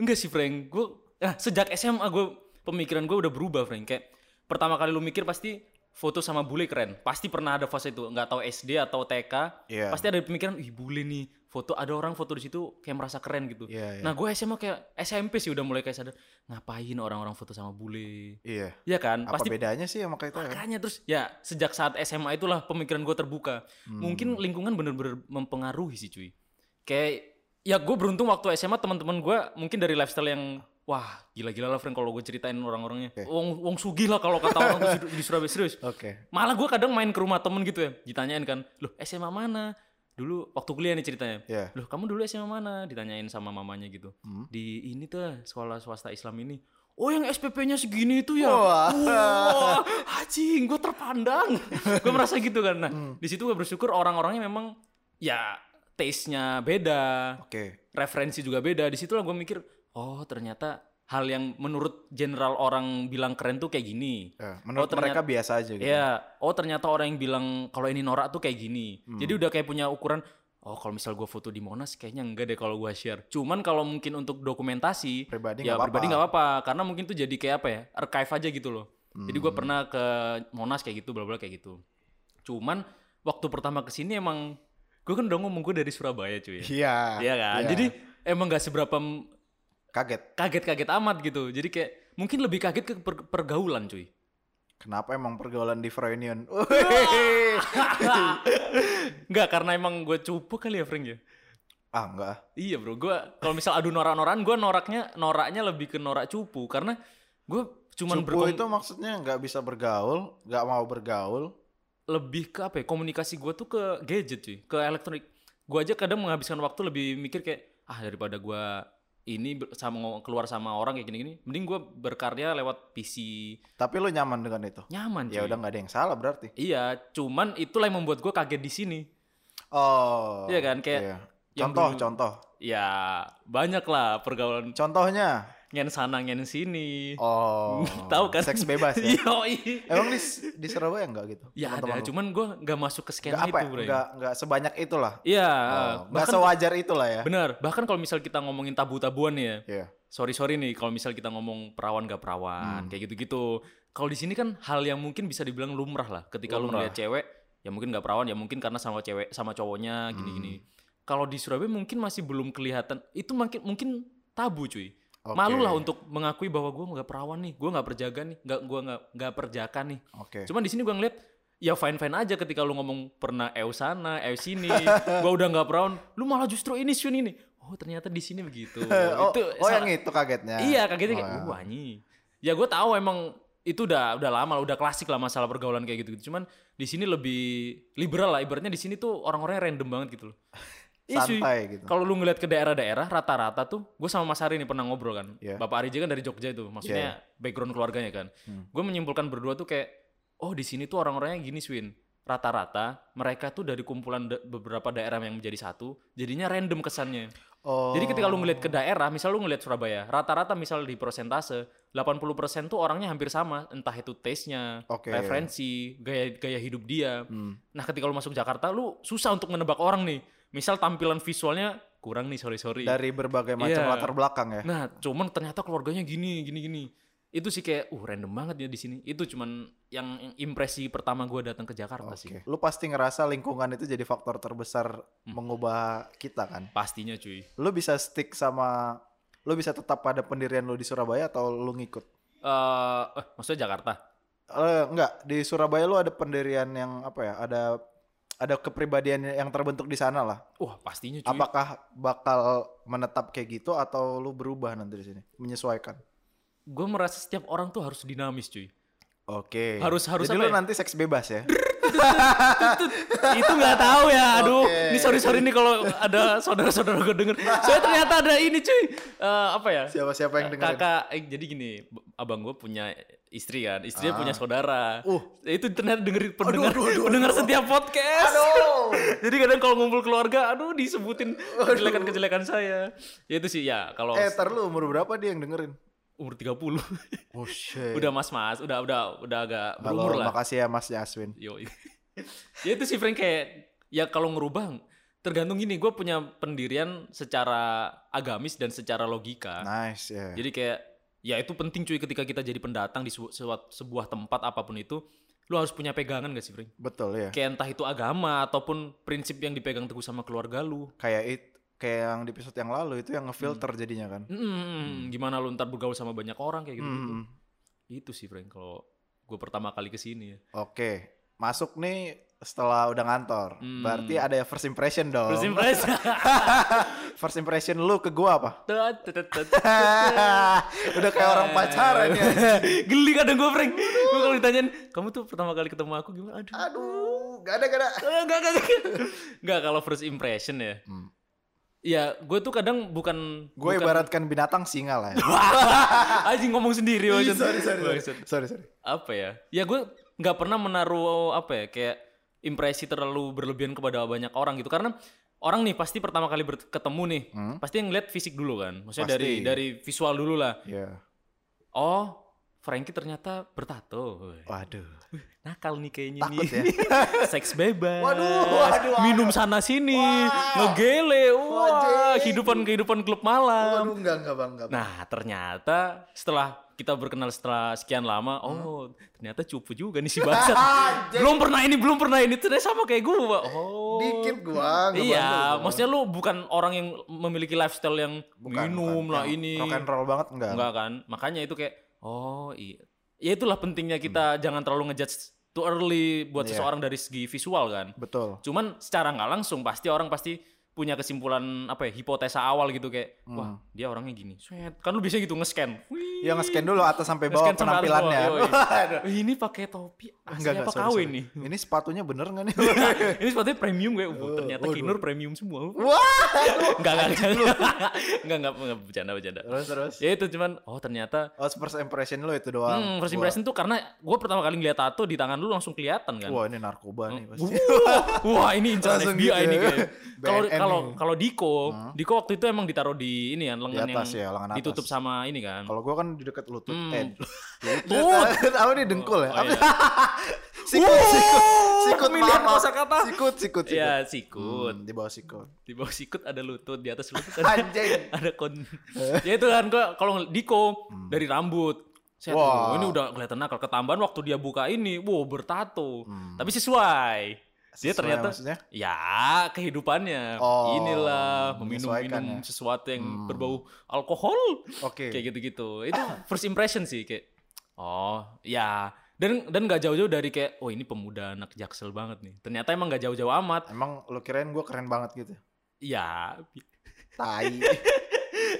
enggak sih Frank. Gue nah, sejak SMA gue pemikiran gue udah berubah Frank. Kayak pertama kali lu mikir pasti foto sama bule keren. Pasti pernah ada fase itu. Enggak tahu SD atau TK.
Iya.
Pasti ada pemikiran, ih bule nih foto ada orang foto di situ kayak merasa keren gitu.
Iya, iya.
Nah gue SMA kayak SMP sih udah mulai kayak sadar ngapain orang-orang foto sama bule.
iya
Iya kan?
apa
Pasti
bedanya sih sama kita ya
Makanya terus ya sejak saat SMA itulah pemikiran gue terbuka. Mungkin lingkungan bener-bener mempengaruhi sih cuy. Kayak ya gue beruntung waktu SMA teman-teman gue mungkin dari lifestyle yang wah gila-gila lah Frank kalau gue ceritain orang-orangnya. Wong wong sugih lah kalau kata orang tuh di Surabaya serius.
oke
Malah gue kadang main ke rumah temen gitu ya. Ditanyain kan, loh SMA mana? Dulu waktu kuliah nih ceritanya.
Iya.
Loh kamu dulu SMA mana? Ditanyain sama mamanya gitu.
Hmm.
Di ini tuh sekolah swasta Islam ini. Oh yang SPP-nya segini itu ya.
Wah.
Wah, anjing gue terpandang. gue merasa gitu kan. Nah
Hmm.
di situ gue bersyukur orang-orangnya memang ya taste-nya beda
oke Ya,
referensi juga beda. Di situlah gue mikir, oh ternyata hal yang menurut general orang bilang keren tuh kayak gini.
Ya, menurut mereka biasa aja gitu
Ya, oh ternyata orang yang bilang kalau ini norak tuh kayak gini.
Hmm.
Jadi udah kayak punya ukuran. Oh kalau misal gue foto di Monas kayaknya enggak deh kalau gue share. Cuman kalau mungkin untuk dokumentasi
Pribadi nggak
ya
apa-apa.
pribadi nggak apa-apa karena mungkin tuh jadi kayak apa ya archive aja gitu loh.
Hmm.
Jadi gue pernah ke Monas kayak gitu, bla bla kayak gitu. Cuman waktu pertama kesini emang gue kan udah ngomong gue dari Surabaya cuy. ya.
iya
Iya kan?
iya.
Jadi emang gak seberapa m-
kaget
kaget-kaget amat gitu. Jadi kayak mungkin lebih kaget ke per- pergaulan cuy.
Kenapa emang pergaulan di Freunion?
Enggak karena emang gue cupu kali ya Frank ya.
ah enggak. ah.
Iya bro, gue kalau misal adu norak-noran gue noraknya noraknya lebih ke norak cupu karena gue
Cupu
cuman berkom-
itu maksudnya nggak bisa bergaul, nggak mau bergaul.
lebih ke apa ya komunikasi gue tuh ke gadget cuy ke elektronik gue aja kadang menghabiskan waktu lebih mikir kayak ah daripada gue ini ber- sama ngo- keluar sama orang kayak gini-gini mending gue berkarya lewat PC
Tapi lo nyaman dengan itu.
nyaman cuy
Ya udah nggak ada yang salah berarti.
Iya, cuman itulah yang membuat gue kaget di sini.
Oh.
Iya kan, kayak
iya.
yang
Contoh,
dulu-
contoh.
Ya banyak lah pergaulan
Contohnya.
ngen sana ngen sini.
Oh.
Tahu kan?
Seks bebas ya.
Yoi.
emang di di Surabaya enggak gitu?
Ya
teman-teman
ada,
lu?
cuman gue nggak masuk
Nggak
ke skena
apa
itu,
ya?
bro.
Nggak nggak sebanyak itulah.
Iya,
Oh, nggak
bahkan
sewajar itulah ya.
benar. Bahkan kalau misal kita ngomongin tabu-tabuan nih ya,
Iya.
sorry sorry nih kalau misal kita ngomong perawan
Hmm.
gak perawan kayak gitu-gitu. Kalau di sini kan hal yang mungkin bisa dibilang lumrah lah. Ketika lu
Lumrah. Hmm.
ngeliat cewek, ya mungkin gak perawan, ya mungkin karena sama cewek sama cowoknya gini-gini. Kalau di Surabaya mungkin masih belum kelihatan. Itu mungkin mungkin tabu cuy.
Oke.
Malu lah untuk mengakui bahwa gue nggak perawan nih, gue nggak perjaga nih, nggak gue nggak nggak perjaka nih.
Oke.
Cuman di sini gue ngeliat ya fine fine aja ketika lu ngomong pernah eu sana, eu sini, gue udah nggak perawan, lu malah justru ini Shun ini. Oh ternyata di sini begitu.
Oh,
Ya, itu
oh
salah-
yang itu kagetnya.
Iya kagetnya
Oh,
kayak,
ya.
"Wah, anjing." Ya gue tahu emang itu udah udah lama, udah klasik lah masalah pergaulan kayak gitu-gitu. Cuman di sini lebih liberal lah. Ibaratnya di sini tuh orang-orangnya random banget gitu loh. Iya, cuy.
Santai gitu.
Kalau lu ngeliat ke daerah-daerah rata-rata tuh, gue sama Mas Hari ini pernah ngobrol kan.
Iya.
Bapak Arija kan dari Jogja itu, maksudnya background keluarganya kan.
Hmm.
Gue menyimpulkan berdua tuh kayak, oh di sini tuh orang-orangnya gini Swin. Rata-rata mereka tuh dari kumpulan da- beberapa daerah yang menjadi satu, jadinya random kesannya.
Oh.
Jadi ketika lu ngeliat ke daerah, misal lu ngeliat Surabaya, rata-rata misal di persentase, 80% tuh orangnya hampir sama, entah itu taste-nya,
Oke.
referensi, gaya gaya hidup dia.
Hmm.
Nah, ketika lu masuk Jakarta, lu susah untuk menebak orang nih. Misal tampilan visualnya kurang nih, sorry-sorry.
dari berbagai macam
Iya.
latar belakang ya.
Nah, cuman ternyata keluarganya gini, gini, gini. Itu sih kayak, uh random banget ya di sini. Itu cuman yang impresi pertama gua datang ke Jakarta sih.
Oke. Lu pasti ngerasa lingkungan itu jadi faktor terbesar
Hmm.
mengubah kita kan.
Pastinya cuy. Eh,
Lu bisa stick sama lu bisa tetap pada pendirian lu di Surabaya atau lu ngikut?
Eh, eh, maksudnya Jakarta?
Eh enggak, di Surabaya lu ada pendirian yang apa ya? Ada ada kepribadian yang terbentuk di sana lah.
Wah, pastinya cuy.
Apakah bakal menetap kayak gitu atau lu berubah nanti di sini? Menyesuaikan.
Gue merasa setiap orang tuh harus dinamis cuy.
Oke.
Harus- harus
Jadi
apa
lu
ya?
nanti seks bebas ya.
itu nggak tahu ya aduh
Oke.
ini sorry sorry nih kalau ada saudara saudara gue denger soalnya ternyata ada ini cuy Eh, apa ya
Siapa-siapa yang dengerin.
kakak eh, jadi gini b- abang gue punya istri kan istrinya
Ah.
punya saudara
Uh.
Ya itu ternyata dengerin pendengar
aduh, aduh,
pendengar setiap podcast
Aduh.
jadi kadang kalau ngumpul keluarga aduh disebutin kejelekan kejelekan saya ya itu sih ya kalau
Eh, tar lu umur berapa dia yang dengerin?
umur 30
Oh shit.
udah mas mas udah udah udah agak
Halo,
berumur lah
makasih ya Mas Yaswin.
Yo. ya itu sih Frank kayak ya kalau ngerubah tergantung gini gue punya pendirian secara agamis dan secara logika.
Nice ya.
Jadi kayak ya itu penting cuy ketika kita jadi pendatang di sebu- sewa- sebuah tempat apapun itu lu harus punya pegangan gak sih Frank?
Betul ya.
Kayak entah itu agama ataupun prinsip yang dipegang teguh sama keluarga lu.
Kayak it kayak yang di episode yang lalu itu yang ngefilter jadinya kan.
Mm, gimana lu ntar bergaul sama banyak orang kayak gitu.
Hmm.
Itu sih Frank kalau gue pertama kali kesini ya.
Oke. Masuk nih setelah udah ngantor.
Hmm.
Berarti ada yang first impression dong.
First impression.
First impression lu ke gua apa?
Tut, tut, tut, tut, tut.
udah kayak orang pacaran ya.
Geli kadang gue Frank. Gue kalau ditanyain, kamu tuh pertama kali ketemu aku gimana? Aduh.
Aduh, gak ada gak ada.
Enggak, enggak, enggak. Enggak kalau first impression ya.
Hmm.
Ya, gue tuh kadang bukan
Gue
bukan-
ibaratkan binatang singa lah ya.
anjing ngomong
Ih,
sendiri maksud.
Iya, sorry, sorry, sorry.
Maksud,
sorry, sorry.
Apa ya? Ya gue nggak pernah menaruh apa ya kayak impresi terlalu berlebihan kepada banyak orang gitu karena orang nih pasti pertama kali ber- ketemu nih
Hmm.
pasti ngeliat fisik dulu kan maksudnya
Pasti.
dari dari visual dulu lah
Iya.
oh Frankie ternyata bertato Woy.
Waduh.
nakal nih kayaknya
Takut ya?
nih. Seks bebas.
Waduh, waduh, waduh.
Minum sana sini,
Wah.
ngegele. Wah,
Wajeng.
kehidupan-kehidupan klub malam.
Waduh, enggak enggak bang, enggak. Bang.
Nah, ternyata setelah kita berkenal setelah sekian lama,
Hmm.
oh, ternyata cupu juga nih si bangsat.
Anjing.
belum pernah ini, belum pernah ini. Ternyata sama kayak gua. Oh.
Dikit gua, nggak bandel
Iya,
gua.
maksudnya lu bukan orang yang memiliki lifestyle yang
Bukan, bukan.
minum lah
Yang
ini.
Rock and roll banget enggak.
Enggak kan? Makanya itu kayak oh iya. Ya itulah pentingnya kita jangan terlalu ngejudge too early buat
Hmm. Iya.
seseorang dari segi visual kan.
Betul.
Cuman secara nggak langsung pasti orang pasti punya kesimpulan apa ya hipotesa awal gitu kayak
Hmm.
wah dia orangnya gini. Set. Kan lu bisa gitu nge-scan. Wih.
Ya nge-scan dulu atas sampai bawah
Nge-scan sampai atas
penampilannya.
bawah, yoi.
Waduh.
Wih, ini pakai topi asli
Enggak, enggak,
apa
sorry,
kawin
sorry.
nih? Iya.
Ini sepatunya bener gak nih?
ini sepatunya premium kayak "Wah, ternyata
waduh.
Kinur premium semua.
Wah.
Enggak enggak enggak. Enggak enggak enggak, bercanda bercanda.
Terus terus.
Ya itu cuman oh ternyata
Oh, first impression lo itu doang.
Hmm, first
Gua-
impression tuh karena gue pertama kali ngeliat tato di tangan lu langsung kelihatan kan.
Wah, ini narkoba nih pasti.
Hmm. Wah ini incaran
Langsung
FBI
gitu
ini
ya.
kayaknya. Kalau
BNN
kalau
nih.
kalau Diko, Diko waktu itu emang ditaruh di ini kan lengan
atas ya,
yang
lengan atas.
ditutup sama ini kan.
Kalau gua kan di dekat lutut.
Hmm.
Eh,
Lutut.
lutut. Apa nih dengkul ya?
Oh,
Apa?
iya.
Sikut, sikut. Sikut
pemilihan
maaf, maaf.
kosakata.
Sikut, sikut, sikut.
Ya sikut.
Hmm, di bawah sikut.
Di bawah sikut ada lutut, di atas lutut ada,
Anjing.
ada kon. ya itu kan gua- kalau Diko dari rambut. Saya
Hmm. Wah.
ini udah kelihatan nakal ketambahan waktu dia buka ini, wow bertato.
Hmm.
Tapi sesuai. Dia
Sesuai
ternyata
maksudnya?
ya kehidupannya
Oh,
inilah minum-minum
menyesuaikan ya.
sesuatu yang
Hmm.
berbau alkohol
Oke.
kayak gitu-gitu. Itu first impression sih kayak oh ya dan dan nggak jauh-jauh dari kayak oh ini pemuda anak jaksel banget nih. Ternyata emang nggak jauh-jauh amat.
Emang lu kirain gue keren banget gitu.
Ya bi-
Tai.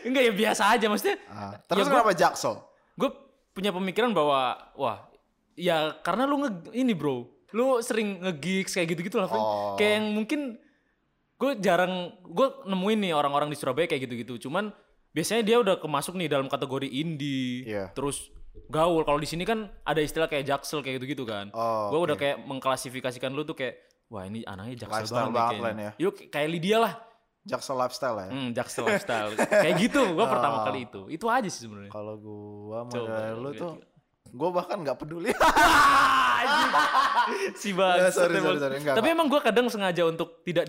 enggak ya biasa aja maksudnya.
Ah, Terus
Ya, gua-
kenapa Jaksel?
Gue punya pemikiran bahwa wah ya karena lu nge ini bro, lu sering nge-gigs kayak gitu-gitu lah. Frank.
Oh.
Kayak yang mungkin gue jarang gue nemuin nih orang-orang di Surabaya kayak gitu-gitu. Cuman biasanya dia udah kemasuk nih dalam kategori indie.
Iya.
Terus gaul. Kalau di sini kan ada istilah kayak jaksel kayak gitu-gitu kan.
Oh,
gue udah
oke.
kayak mengklasifikasikan lu tuh kayak wah ini anaknya jaksel
Lifestyle
banget,
banget lah
nih
ya.
kayaknya. Yuk kayak Lydia lah.
Jaksel lifestyle ya.
Hmm, jaksel lifestyle. kayak gitu gue
Oh.
pertama kali itu. Itu aja sih sebenarnya.
Kalau gua
Coba,
model lu
gila,
tuh gua bahkan nggak peduli.
si bang.
Nah, sorry, sorry, sorry. Enggak,
Tapi emang gue kadang sengaja untuk tidak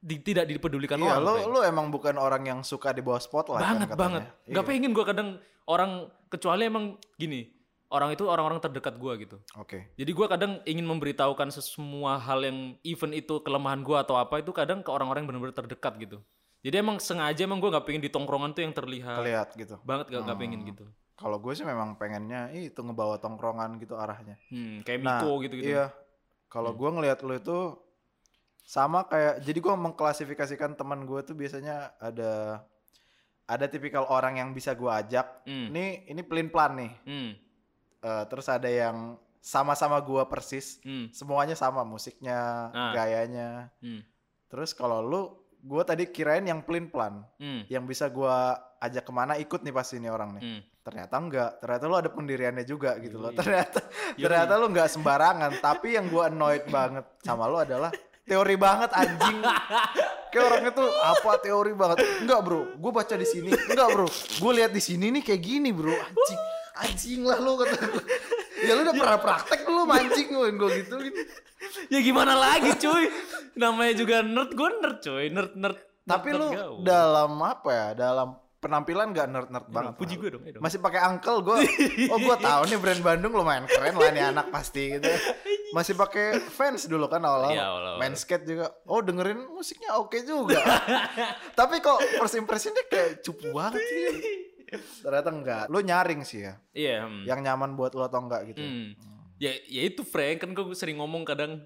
di- tidak dipedulikan
iya,
orang.
lu
Frank.
lu emang bukan orang yang suka di bawah spotlight
banget
kan, katanya.
banget. Gak
Iya.
pengen gue kadang orang kecuali emang gini orang itu orang-orang terdekat gue gitu.
Oke.
Jadi gue kadang ingin memberitahukan semua hal yang event itu kelemahan gue atau apa itu kadang ke orang-orang yang benar-benar terdekat gitu. Jadi emang sengaja emang gue nggak pengen di tongkrongan tuh yang terlihat
Kelihat gitu.
banget gak, nggak pengen gitu.
Kalau gue sih memang pengennya "Ih, itu ngebawa tongkrongan gitu arahnya.
Hmm, kayak
Nah,
Miko gitu Hmm. gitu.
Iya. Kalau gua ngelihat lu itu sama kayak jadi gua mengklasifikasikan teman gue tuh biasanya ada ada tipikal orang yang bisa gua ajak.
Hmm,
Ini ini pelin-pelan nih.
hmm,
Eh, terus ada yang sama-sama gua persis.
hmm,
Semuanya sama musiknya,
Ah.
gayanya.
hmm,
Terus kalau lu gua tadi kirain yang pelin-pelan,
hmm,
yang bisa gua ajak kemana ikut nih pasti ini orang nih.
hmm.
Ternyata enggak. Ternyata lu ada pendiriannya juga gitu loh.
Yoi.
Ternyata
Yoi.
ternyata lu enggak sembarangan, tapi yang gua annoyed banget sama lu adalah teori banget anjing. Kayak orangnya tuh apa teori banget. Enggak, Bro. Gua baca di sini. Enggak, Bro. Gua lihat di sini nih kayak gini, Bro. Anjing. Anjing lah lu kata gua. Ya lu udah pernah praktek lu mancing gue gitu.
Ya gimana lagi cuy? Namanya juga nerd gue nerd cuy nerd nerd.
Tapi
nerd-
lu
nerd gaul.
dalam apa ya? Dalam penampilan gak nerd-nerd
Ya
banget.
dong, Puji
lah.
gue dong. ya dong.
Masih pakai angkel gue. Oh gue tahu nih brand Bandung lumayan keren lah nih anak pasti gitu. Masih pakai fans dulu kan awal-awal.
Iya, awal-awal.
Main skate juga. Oh dengerin musiknya oke juga. Tapi kok first impressionnya kayak cupu banget sih. Ternyata enggak. Lu nyaring sih ya.
Iya. hmm.
Yang nyaman buat lu atau enggak gitu.
Hmm. Ya, ya itu Frank kan gue sering ngomong kadang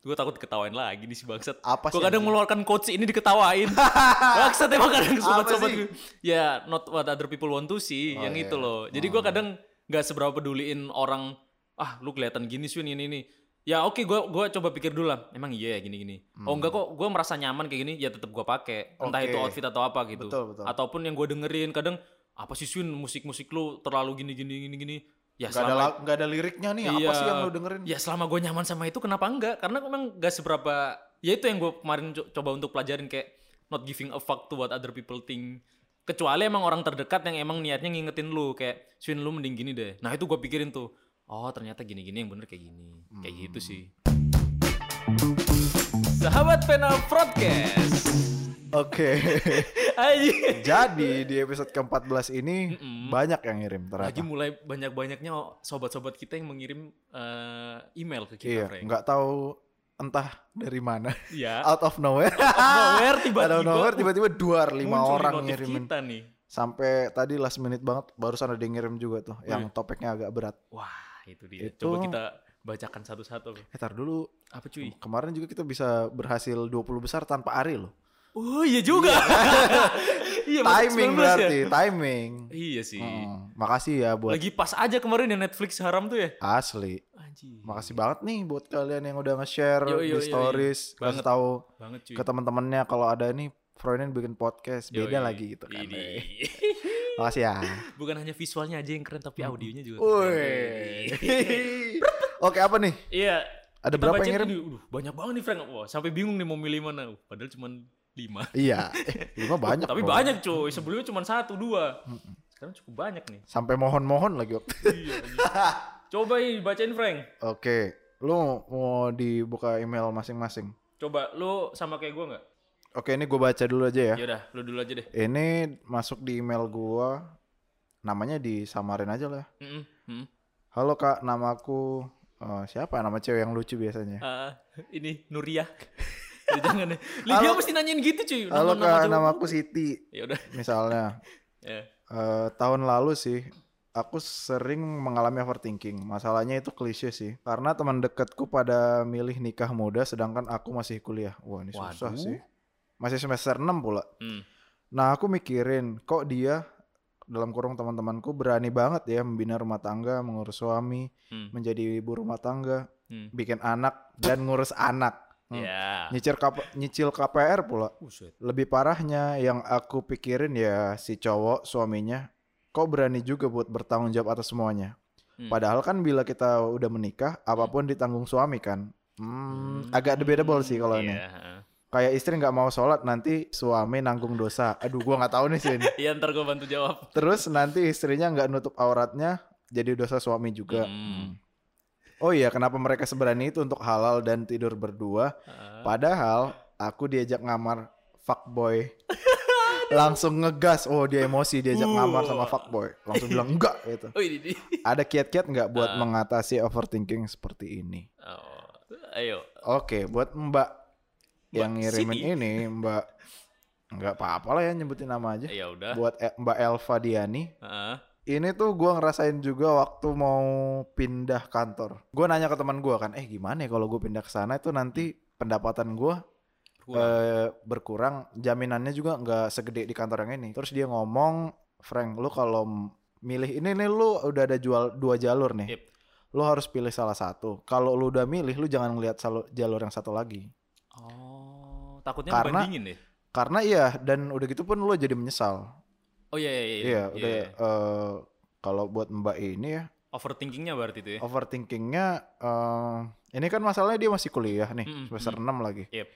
gue takut ketawain lagi nih si bangsat.
Apa sih
Gue
anjing?
kadang mengeluarkan quotes ini diketawain. bangsat emang kadang sobat-sobat
sih?
gue. Ya not what other people want to see
Oh,
yang
iya.
itu loh. Jadi gue kadang nggak seberapa peduliin orang ah lu kelihatan gini sih ini ini. Ya oke gue gua coba pikir dulu lah. Emang iya ya gini-gini. Oh enggak kok gue merasa nyaman kayak gini ya tetap gue pakai. Entah itu
Hmm. Oke.
outfit atau apa gitu.
Betul, betul.
Ataupun yang gue dengerin kadang apa sih Swin musik-musik lu terlalu gini gini gini gini. Ya
Gak ada,
selama
la- nggak ada liriknya nih. Apa
Iya.
sih yang lu dengerin?
Ya selama gue nyaman sama itu kenapa enggak? Karena memang gak seberapa. Ya itu yang gue kemarin co- coba untuk pelajarin kayak not giving a fuck to what other people think. Kecuali emang orang terdekat yang emang niatnya ngingetin lu kayak Swin lu mending gini deh. Nah itu gue pikirin tuh. Oh ternyata gini-gini yang bener kayak gini. Kayak
Hmm.
gitu sih. Sahabat Pena Broadcast.
Oke.
Aji.
Jadi di episode ke-14 ini banyak yang ngirim ternyata.
Lagi mulai banyak-banyaknya sobat-sobat kita yang mengirim eh, email ke kita,
Iya,
Frank.
nggak tahu entah dari mana.
Iya.
Out of nowhere.
nowhere
Ah. Out of
tiba-tiba
nowhere tiba-tiba dua lima
muncul di
orang
notif
ngirimin.
kita nih.
Sampai tadi last minute banget barusan ada yang ngirim juga tuh yang
Iya.
topiknya agak berat.
Wah, itu dia.
Itu-
Coba kita bacakan satu-satu. Bro.
Eh, tar dulu.
Apa cuy?
Kemarin juga kita bisa berhasil 20 besar tanpa Ari loh.
Oh, iya juga. iya, masuk
Timing
19 ya?
berarti, timing.
Iya sih.
Hmm, makasih ya buat
Lagi pas aja kemarin ya Netflix haram tuh ya.
asli.
Anjir.
Makasih banget nih buat kalian yang udah nge-share
Yo, yo, yo,
di
yo.
stories, kasih
Banget.
tahu
Banget cuy.
ke teman-temannya kalau ada nih Froynen bikin podcast
Yoi.
beda lagi gitu kan.
Ini.
Makasih ya.
Bukan hanya visualnya aja yang keren
Hmm.
tapi audionya juga.
Woi.
keren.
Oke apa nih?
Iya.
Ada
kita
berapa
bacain
yang ngirim?
ini. Aduh, banyak banget nih Frank. Wah, sampai bingung nih mau milih mana. Uh, Padahal cuma lima.
Iya, eh, lima banyak.
Tapi
Bro.
banyak cuy. Sebelumnya cuma satu dua.
Hmm.
Sekarang cukup banyak nih.
Sampai mohon-mohon lagi waktu.
Iya, iya. Coba ini bacain Frank.
Oke, lu mau dibuka email masing-masing.
Coba lu sama kayak gua nggak?
Oke, ini gue baca dulu aja ya.
Ya udah, lu dulu aja deh.
Ini masuk di email gua. Namanya disamarin aja lah. Hmm.
Mm-mm, mm-mm.
Halo Kak, namaku Oh, siapa nama cewek yang lucu biasanya?
Eh, ini Nuria. Ya, jangan deh. Li, dia mesti nanyain gitu cuy.
Halo
Nama-nama
kak,
cowok.
nama aku Siti
Ya udah.
misalnya.
Ya.
Eh, tahun lalu sih aku sering mengalami overthinking. Masalahnya itu klise sih. Karena teman dekatku pada milih nikah muda sedangkan aku masih kuliah. Wah, ini susah
Waduh.
sih. Masih semester 6 pula.
Hmm.
Nah, aku mikirin kok dia dalam kurung teman-temanku berani banget ya membina rumah tangga, mengurus suami,
Hmm.
menjadi ibu rumah tangga,
Hmm.
bikin anak dan ngurus anak. Hmm.
Ya.
Nyicil KP- nyicil KPR pula.
Buset.
Lebih parahnya yang aku pikirin ya si cowok suaminya kok berani juga buat bertanggung jawab atas semuanya.
Hmm.
Padahal kan bila kita udah menikah apapun ditanggung suami kan. Hmm, agak debatable sih kalau ini.
Iya, heeh.
Kayak istri nggak mau sholat nanti suami nanggung dosa. Aduh gua nggak tahu nih Sin.
Iya ntar gue bantu jawab.
Terus nanti istrinya nggak nutup auratnya jadi dosa suami juga.
Hmm.
Oh iya kenapa mereka seberani itu untuk halal dan tidur berdua?
Heeh.
Padahal aku diajak ngamar fuckboy. Langsung ngegas. Oh, dia emosi diajak
Uh.
ngamar sama fuckboy. Langsung bilang enggak gitu.
Oh ini ini.
Ada kiat-kiat nggak buat mengatasi overthinking seperti ini?
Oh, ayo.
Oke, buat Mbak, yang ngirimin
Siti.
ini, Mbak nggak apa-apa lah ya nyebutin nama aja.
Ya udah.
Buat E- Mbak Elva Diani,
Heeh.
ini tuh gua ngerasain juga waktu mau pindah kantor. Gua nanya ke teman gua kan, eh gimana ya kalau gue pindah ke sana itu nanti pendapatan gua
Kurang.
eh, berkurang jaminannya juga nggak segede di kantor yang ini terus dia ngomong Frank lu kalau m- milih ini nih lu udah ada jual dua jalur nih
Yep.
lu harus pilih salah satu kalau lu udah milih lu jangan ngeliat salu- jalur yang satu lagi
Oh, takutnya
Karena-
dibandingin deh.
karena iya dan udah gitu pun lu jadi menyesal
Oh iya iya iya.
iya udah
iya.
eh, kalau buat mbak ini ya
Overthinkingnya berarti
Oh.
itu ya.
overthinkingnya eh, ini kan masalahnya dia masih kuliah nih
Mm-mm,
semester 6 lagi
Yep.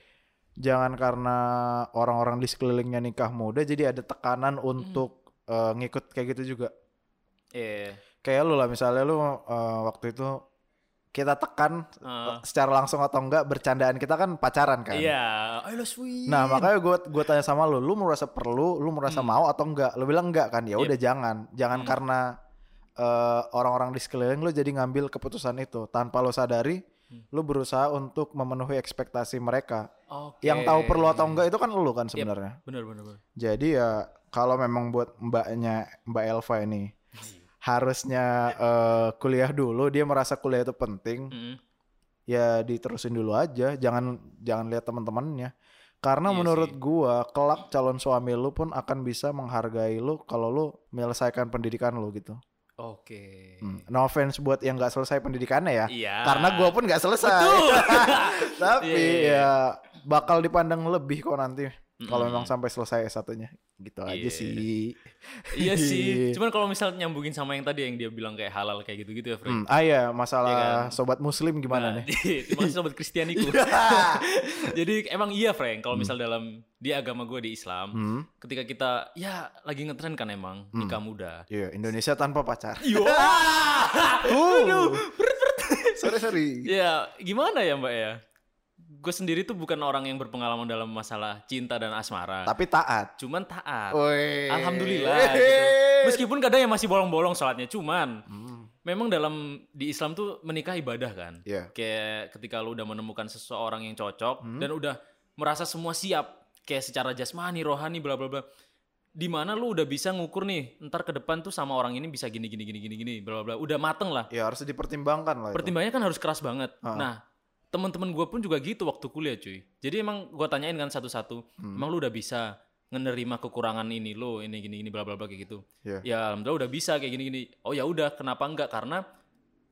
jangan karena orang-orang di sekelilingnya nikah muda jadi ada tekanan untuk eh, ngikut kayak gitu juga
Iya.
kayak lu lah misalnya lu eh, waktu itu kita tekan
Heeh.
secara langsung atau enggak bercandaan kita kan pacaran kan
Iya. Ayo lo sweet.
nah makanya gue gue tanya sama lu lu merasa perlu lu merasa mau atau enggak lu bilang enggak kan ya udah jangan jangan
Iya. Hmm.
karena eh, orang-orang di sekeliling lu jadi ngambil keputusan itu tanpa lu sadari
Hmm.
lu berusaha untuk memenuhi ekspektasi mereka
Oke.
yang tahu perlu atau enggak itu kan lu kan sebenarnya
Bener bener bener.
Jadi ya kalau memang buat mbaknya Mbak Elva ini
Iya.
harusnya eh, kuliah dulu dia merasa kuliah itu penting
Mm-mm.
ya diterusin dulu aja jangan jangan lihat teman-temannya karena
Iya
menurut
sih.
gua kelak calon suami lu pun akan bisa menghargai lu kalau lu menyelesaikan pendidikan lu gitu
Oke.
Hmm. no offense buat yang nggak selesai pendidikannya ya
Iya.
karena gua pun nggak selesai
Betul.
tapi
Iya, iya,
ya bakal dipandang lebih kok nanti kalau memang sampai selesai satunya gitu aja
Iya.
sih
Iya sih. Cuman kalau misal nyambungin sama yang tadi yang dia bilang kayak halal kayak gitu-gitu ya, Frank.
Hmm, ah ya masalah
Iya
sobat muslim gimana
Nah,
nih? Iya.
Terima kasih sobat Kristianiku. Jadi emang iya, Frank, kalau misal dalam di agama gue di Islam,
Hmm,
ketika kita ya lagi ngetren kan emang nikah muda.
iya Indonesia tanpa pacar.
Yo.
Uh, sorry sorry.
ya, gimana ya, Mbak ya? Gue sendiri tuh bukan orang yang berpengalaman dalam masalah cinta dan asmara.
Tapi taat.
Cuman taat.
Woi.
Alhamdulillah gitu. Meskipun kadang ya masih bolong-bolong sholatnya, cuman
Hmm.
memang dalam di Islam tuh menikah ibadah kan.
Iya.
Kayak ketika lu udah menemukan seseorang yang cocok dan udah merasa semua siap kayak secara jasmani, rohani, bla bla bla. Di mana lu udah bisa ngukur nih, ntar ke depan tuh sama orang ini bisa gini gini gini gini gini, bla bla bla. Udah mateng lah.
Ya harus dipertimbangkan lah. itu. Ah.
Pertimbangannya kan harus keras banget. Nah, teman-teman gue pun juga gitu waktu kuliah cuy. Jadi emang gue tanyain kan satu-satu,
Hmm.
emang lu udah bisa ngenerima kekurangan ini lo, ini gini gini bla bla bla kayak gitu.
Iya.
Ya alhamdulillah udah bisa kayak gini gini. Oh ya udah, kenapa enggak? Karena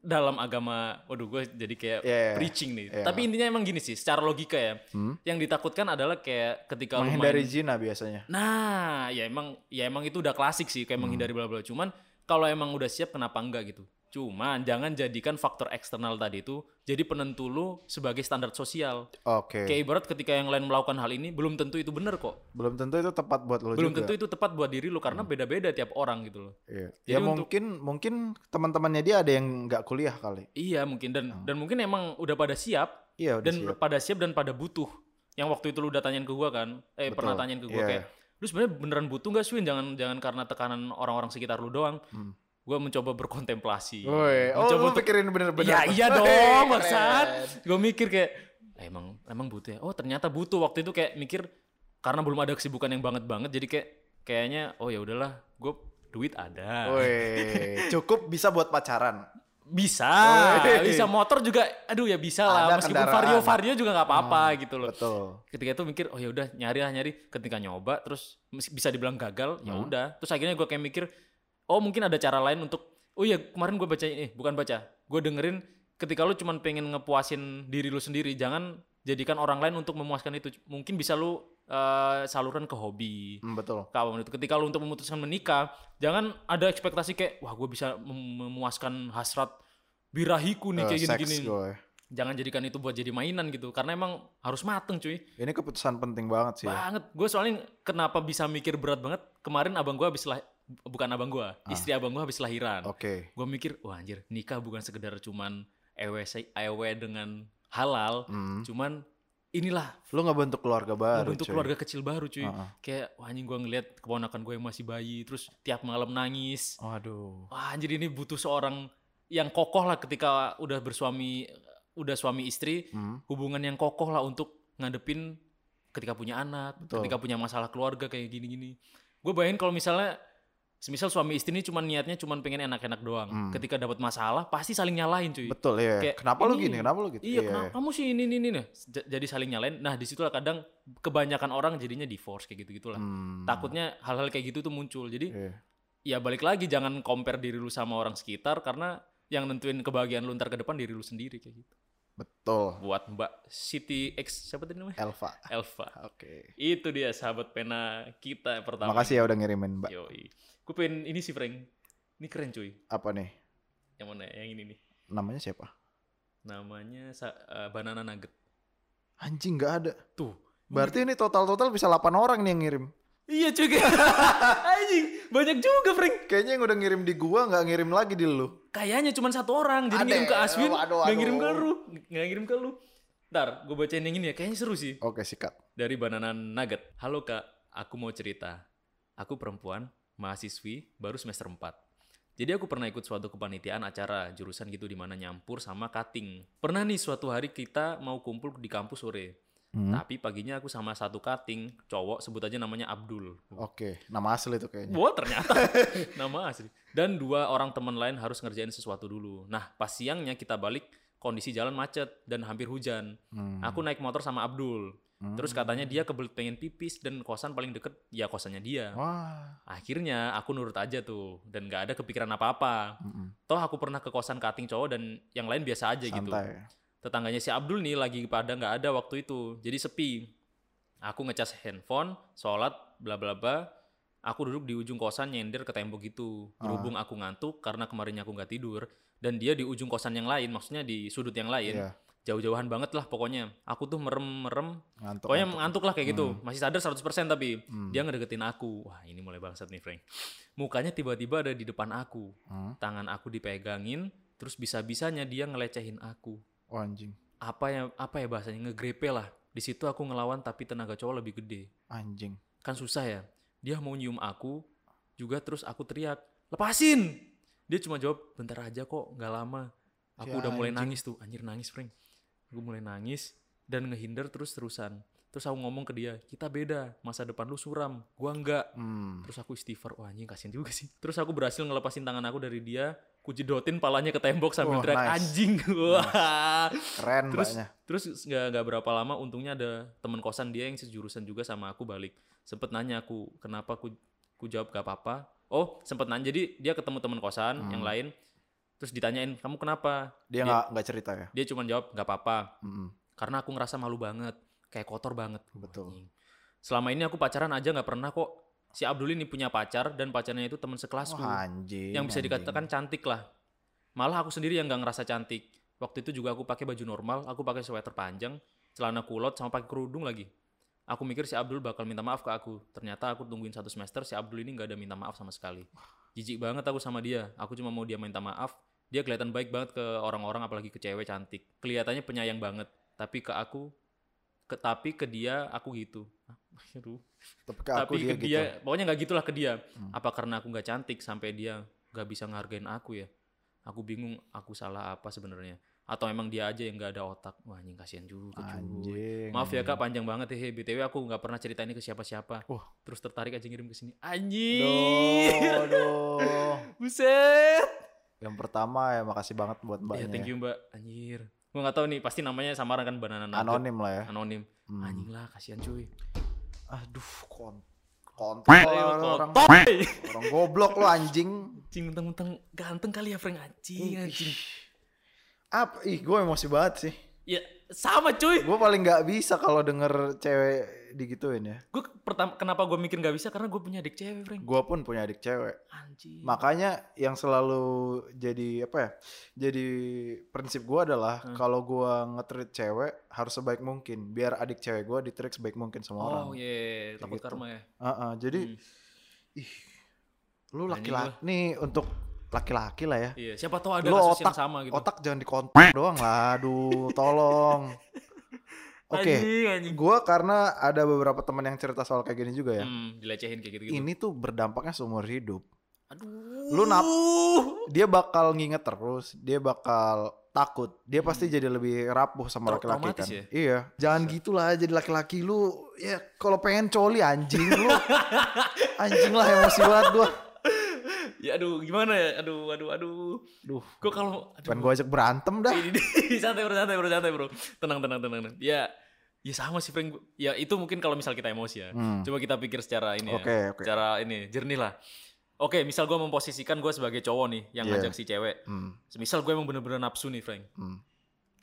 dalam agama, waduh gue jadi kayak
Iya, iya,
preaching nih.
iya.
Tapi intinya emang gini sih, secara logika ya.
Hmm.
Yang ditakutkan adalah kayak ketika lu main
Menghindari zina biasanya.
Nah, ya emang ya emang itu udah klasik sih kayak menghindari bla bla. Cuman kalau emang udah siap kenapa enggak gitu. Cuman jangan jadikan faktor eksternal tadi itu jadi penentu lu sebagai standar sosial.
Oke.
Kayak ibarat ketika yang lain melakukan hal ini belum tentu itu benar kok.
Belum tentu itu tepat buat lo
Belum
juga.
tentu itu tepat buat diri lu karena beda-beda tiap orang gitu loh.
Iya.
Jadi
Ya
untuk-
mungkin mungkin teman-temannya dia ada yang nggak kuliah kali.
Iya, mungkin dan dan mungkin emang udah pada siap
Iya udah
dan
siap.
pada siap dan pada butuh. Yang waktu itu lu udah tanyain ke gua kan, eh
Betul.
pernah tanyain ke gua
Iya.
kayak, lu sebenarnya beneran butuh nggak sih? Jangan jangan karena tekanan orang-orang sekitar lu doang.
Hmm.
gue mencoba berkontemplasi.
Woi, oh
mencoba
lu
untuk-
pikirin bener-bener.
Ya iya
Woi,
dong,
keren.
maksud. Gue mikir kayak "Ah, emang emang butuh ya. Oh, ternyata butuh. Waktu itu kayak mikir karena belum ada kesibukan yang banget-banget jadi kayak kayaknya oh ya udahlah, gue duit ada.
Woi, cukup bisa buat pacaran.
Bisa,
Woi.
bisa motor juga. Aduh ya bisa
Ada
lah. Meskipun
kendaraan. Hmm.
vario vario juga nggak apa-apa gitu loh.
Betul.
ketika itu mikir oh ya udah nyari lah nyari ketika nyoba terus mes- bisa dibilang gagal ya
Hmm.
udah terus akhirnya gue kayak mikir oh mungkin ada cara lain untuk oh ya kemarin gue baca ini bukan baca gue dengerin ketika lu cuman pengen ngepuasin diri lu sendiri jangan jadikan orang lain untuk memuaskan itu mungkin bisa lu eh, saluran ke hobi
Hmm, betul.
ke apapun itu ketika lu untuk memutuskan menikah jangan ada ekspektasi kayak wah gue bisa mem- memuaskan hasrat birahiku nih
Eh,
kayak
seks
gini-gini
gue.
jangan jadikan itu buat jadi mainan gitu karena emang harus mateng cuy
Ini keputusan penting banget sih.
banget gue soalnya kenapa bisa mikir berat banget kemarin abang gue habis lah bukan abang gue
Ah.
istri abang gue habis lahiran
Oke.
gue mikir wah anjir nikah bukan sekedar cuman ewe se- ewe dengan halal
Hmm.
cuman inilah
Lu nggak bentuk keluarga baru. cuy.
bentuk
Ah.
keluarga kecil baru cuy
Heeh.
kayak wah anjing gue ngeliat keponakan gue yang masih bayi terus tiap malam nangis
Waduh.
wah anjir ini butuh seorang yang kokoh lah ketika udah bersuami udah suami istri
Hmm.
hubungan yang kokoh lah untuk ngadepin ketika punya anak,
Betul.
ketika punya masalah keluarga kayak gini-gini. Gue bayangin kalau misalnya semisal suami istri ini cuman niatnya cuman pengen enak-enak doang.
Hmm.
Ketika dapat masalah pasti saling nyalahin cuy.
Betul ya.
Kayak,
kenapa lu
ini-
gini? Kenapa lu gitu?
Iya, kenapa kamu sih ini ini ini nah. J- jadi saling nyalain. Nah, disitulah kadang kebanyakan orang jadinya divorce kayak gitu-gitulah.
Hmm.
Takutnya hal-hal kayak gitu tuh muncul. Jadi
Iya.
ya balik lagi jangan compare diri lu sama orang sekitar karena yang nentuin kebahagiaan lu ntar ke depan diri lu sendiri kayak gitu.
Betul.
Buat Mbak Siti X siapa tadi namanya?
Elva.
Elva.
Oke.
Itu dia sahabat pena kita pertama.
Makasih ya udah ngirimin, Mbak.
Yoi. Gue pengen ini sih Frank. Ini keren cuy.
Apa nih?
Yang mana? Yang ini nih.
Namanya siapa?
Namanya sa- eh, Banana Nugget.
Anjing nggak ada.
Tuh.
Berarti ini total-total bisa 8 orang nih yang ngirim.
Iya cuy. Anjing. Banyak juga Frank.
Kayaknya yang udah ngirim di gua nggak ngirim lagi di lu.
Kayaknya cuma satu orang. Jadi
Ade,
ngirim ke Aswin.
waduh,
nggak
waduh.
ngirim ke lu. Nggak ngirim ke lu. Ntar gue bacain yang ini ya. Kayaknya seru sih.
Oke, sikat.
Dari Banana Nugget. Halo kak. Aku mau cerita. Aku perempuan. Mahasiswi. Baru semester 4. Jadi aku pernah ikut suatu kepanitiaan acara jurusan gitu di mana nyampur sama cutting. Pernah nih suatu hari kita mau kumpul di kampus sore.
Hmm.
Tapi paginya aku sama satu cutting cowok sebut aja namanya Abdul.
Oke, nama asli itu kayaknya.
Wah ternyata nama asli. Dan dua orang teman lain harus ngerjain sesuatu dulu. Nah pas siangnya kita balik kondisi jalan macet dan hampir hujan.
Hmm.
Aku naik motor sama Abdul.
Hmm. Oh.
Terus katanya dia kebelet pengen pipis dan kosan paling deket ya kosannya dia.
Wah.
Akhirnya aku nurut aja tuh dan gak ada kepikiran apa-apa
Mm-mm.
toh aku pernah ke kosan kating cowok dan yang lain biasa aja gitu
Santai.
tetangganya si Abdul nih lagi pada nggak ada waktu itu jadi sepi aku ngecas handphone sholat bla bla bla aku duduk di ujung kosan nyender ke tembok gitu
Ah.
berhubung aku ngantuk karena kemarinnya aku nggak tidur dan dia di ujung kosan yang lain maksudnya di sudut yang lain
Iya,
jauh-jauhan banget lah pokoknya aku tuh merem merem
ngantuk.
pokoknya
ngantuk.
ngantuk lah kayak gitu masih sadar 100% tapi
Hmm.
dia ngedeketin aku wah ini mulai bangsat nih Frank mukanya tiba-tiba ada di depan aku
Hmm.
tangan aku dipegangin terus bisa-bisanya dia ngelecehin aku
Oh, anjing.
apa ya apa ya bahasanya ngegrepe lah di situ aku ngelawan tapi tenaga cowok lebih gede
Anjing.
kan susah ya dia mau nyium aku juga terus aku teriak lepasin dia cuma jawab bentar aja kok nggak lama aku
Ya,
udah mulai
anjing.
nangis tuh anjir nangis Frank aku mulai nangis dan ngehindar terus terusan terus aku ngomong ke dia kita beda masa depan lu suram gua enggak
Hmm.
Terus aku istighfar, wah anjing kasihan juga sih. Terus aku berhasil ngelepasin tangan aku dari dia, kujedotin palanya ke tembok sambil
Wah,
teriak
nice.
anjing. Wah.
Keren
Terus-
mbaknya.
Terus nggak nggak berapa lama untungnya ada teman kosan dia yang sejurusan juga sama aku balik. Sempet nanya aku kenapa aku ku jawab gak apa-apa. Oh, sempet nanya. Jadi dia ketemu teman kosan
Hmm.
yang lain. Terus ditanyain, "Kamu kenapa?"
Dia
dia-
nggak nggak cerita ya.
Dia cuma jawab, "Gak apa-apa."
Mm-mm.
Karena aku ngerasa malu banget, kayak kotor banget. Wah,
Betul.
anjing. Selama ini aku pacaran aja nggak pernah kok. Si Abdul ini punya pacar dan pacarnya itu teman sekelasku
Wah, anjing.
yang bisa
anjing.
dikatakan cantik lah. Malah aku sendiri yang nggak ngerasa cantik. Waktu itu juga aku pakai baju normal, aku pakai sweater panjang, celana kulot sama pakai kerudung lagi. Aku mikir si Abdul bakal minta maaf ke aku. Ternyata aku tungguin satu semester si Abdul ini nggak ada minta maaf sama sekali. Jijik banget aku sama dia. Aku cuma mau dia minta maaf. Dia kelihatan baik banget ke orang-orang apalagi ke cewek cantik. Kelihatannya penyayang banget. Tapi ke aku ke, tapi ke dia aku gitu. Aduh
tapi ke aku
tapi
dia,
ke dia
gitu.
pokoknya nggak gitulah ke dia
Hmm.
apa karena aku nggak cantik sampai dia gak bisa ngehargain aku ya aku bingung aku salah apa sebenarnya atau emang dia aja yang gak ada otak wah anjing kasihan juga cuy
Anjing.
maaf ya kak panjang banget ya btw aku nggak pernah cerita ini ke siapa-siapa
Wah.
terus tertarik aja ngirim ke sini
Duh,
anjing
aduh.
buset
Yang pertama ya makasih banget buat
ya thank
mbaknya.
you mbak anjir gua nggak tahu nih pasti namanya samaran kan banana nugget.
Anonim lah ya.
anonim
Hmm.
anjing lah kasihan cuy
Aduh, kon kontol
Ayo,
lah
kotor.
orang, orang goblok lo anjing.
anjing mentang-mentang ganteng kali ya Frank anjing anjing
Apa? Ih, gue emosi banget sih.
ya sama cuy
Gue paling nggak bisa kalau denger cewek digituin ya.
gue pertama kenapa gue mikir nggak bisa karena gue punya adik cewek Frank
Gue pun punya adik cewek.
anjing
Makanya yang selalu jadi apa ya? Jadi prinsip gua adalah
Hmm.
kalau gua nge-treat cewek harus sebaik mungkin biar adik cewek gua di-treat sebaik mungkin sama orang.
oh iya takut
gitu.
karma ya
Heeh, jadi
Hmm.
ih lu
Anjing
laki-laki nih untuk laki-laki lah ya.
iya siapa tahu ada
Lu
kasus
otak,
yang sama gitu
otak jangan dikontak doang lah. Aduh, tolong. Oke,
anjing anjing
gua karena ada beberapa teman yang cerita soal kayak gini juga ya.
Hmm, dilecehin kayak gitu gitu
Ini tuh berdampaknya seumur hidup.
aduh
Lu nap- dia bakal nginget terus, dia bakal takut. Dia pasti jadi lebih rapuh sama
Tra-
laki-laki
traumatis
kan.
ya?
Iya. Jangan gitulah jadi laki-laki lu. Ya kalau pengen coli anjing lu. anjing lah emosi banget gua.
ya aduh gimana ya aduh aduh aduh
Duh,
gue kalau aduh.
pengen gua ajak berantem dah.
Ini- ini- santai bro, santai bro, santai bro. Tenang, tenang, tenang. tenang. Ya, ya sama sih Frank. Ya itu mungkin kalau misal kita emosi ya.
Hmm.
Coba kita pikir secara ini
Oke,
ya.
oke.
Secara ini, jernih lah. Oke, misal gue memposisikan gue sebagai cowok nih yang
Iya.
ngajak si cewek.
Hmm,
Misal gue emang bener-bener nafsu nih Frank.
hmm.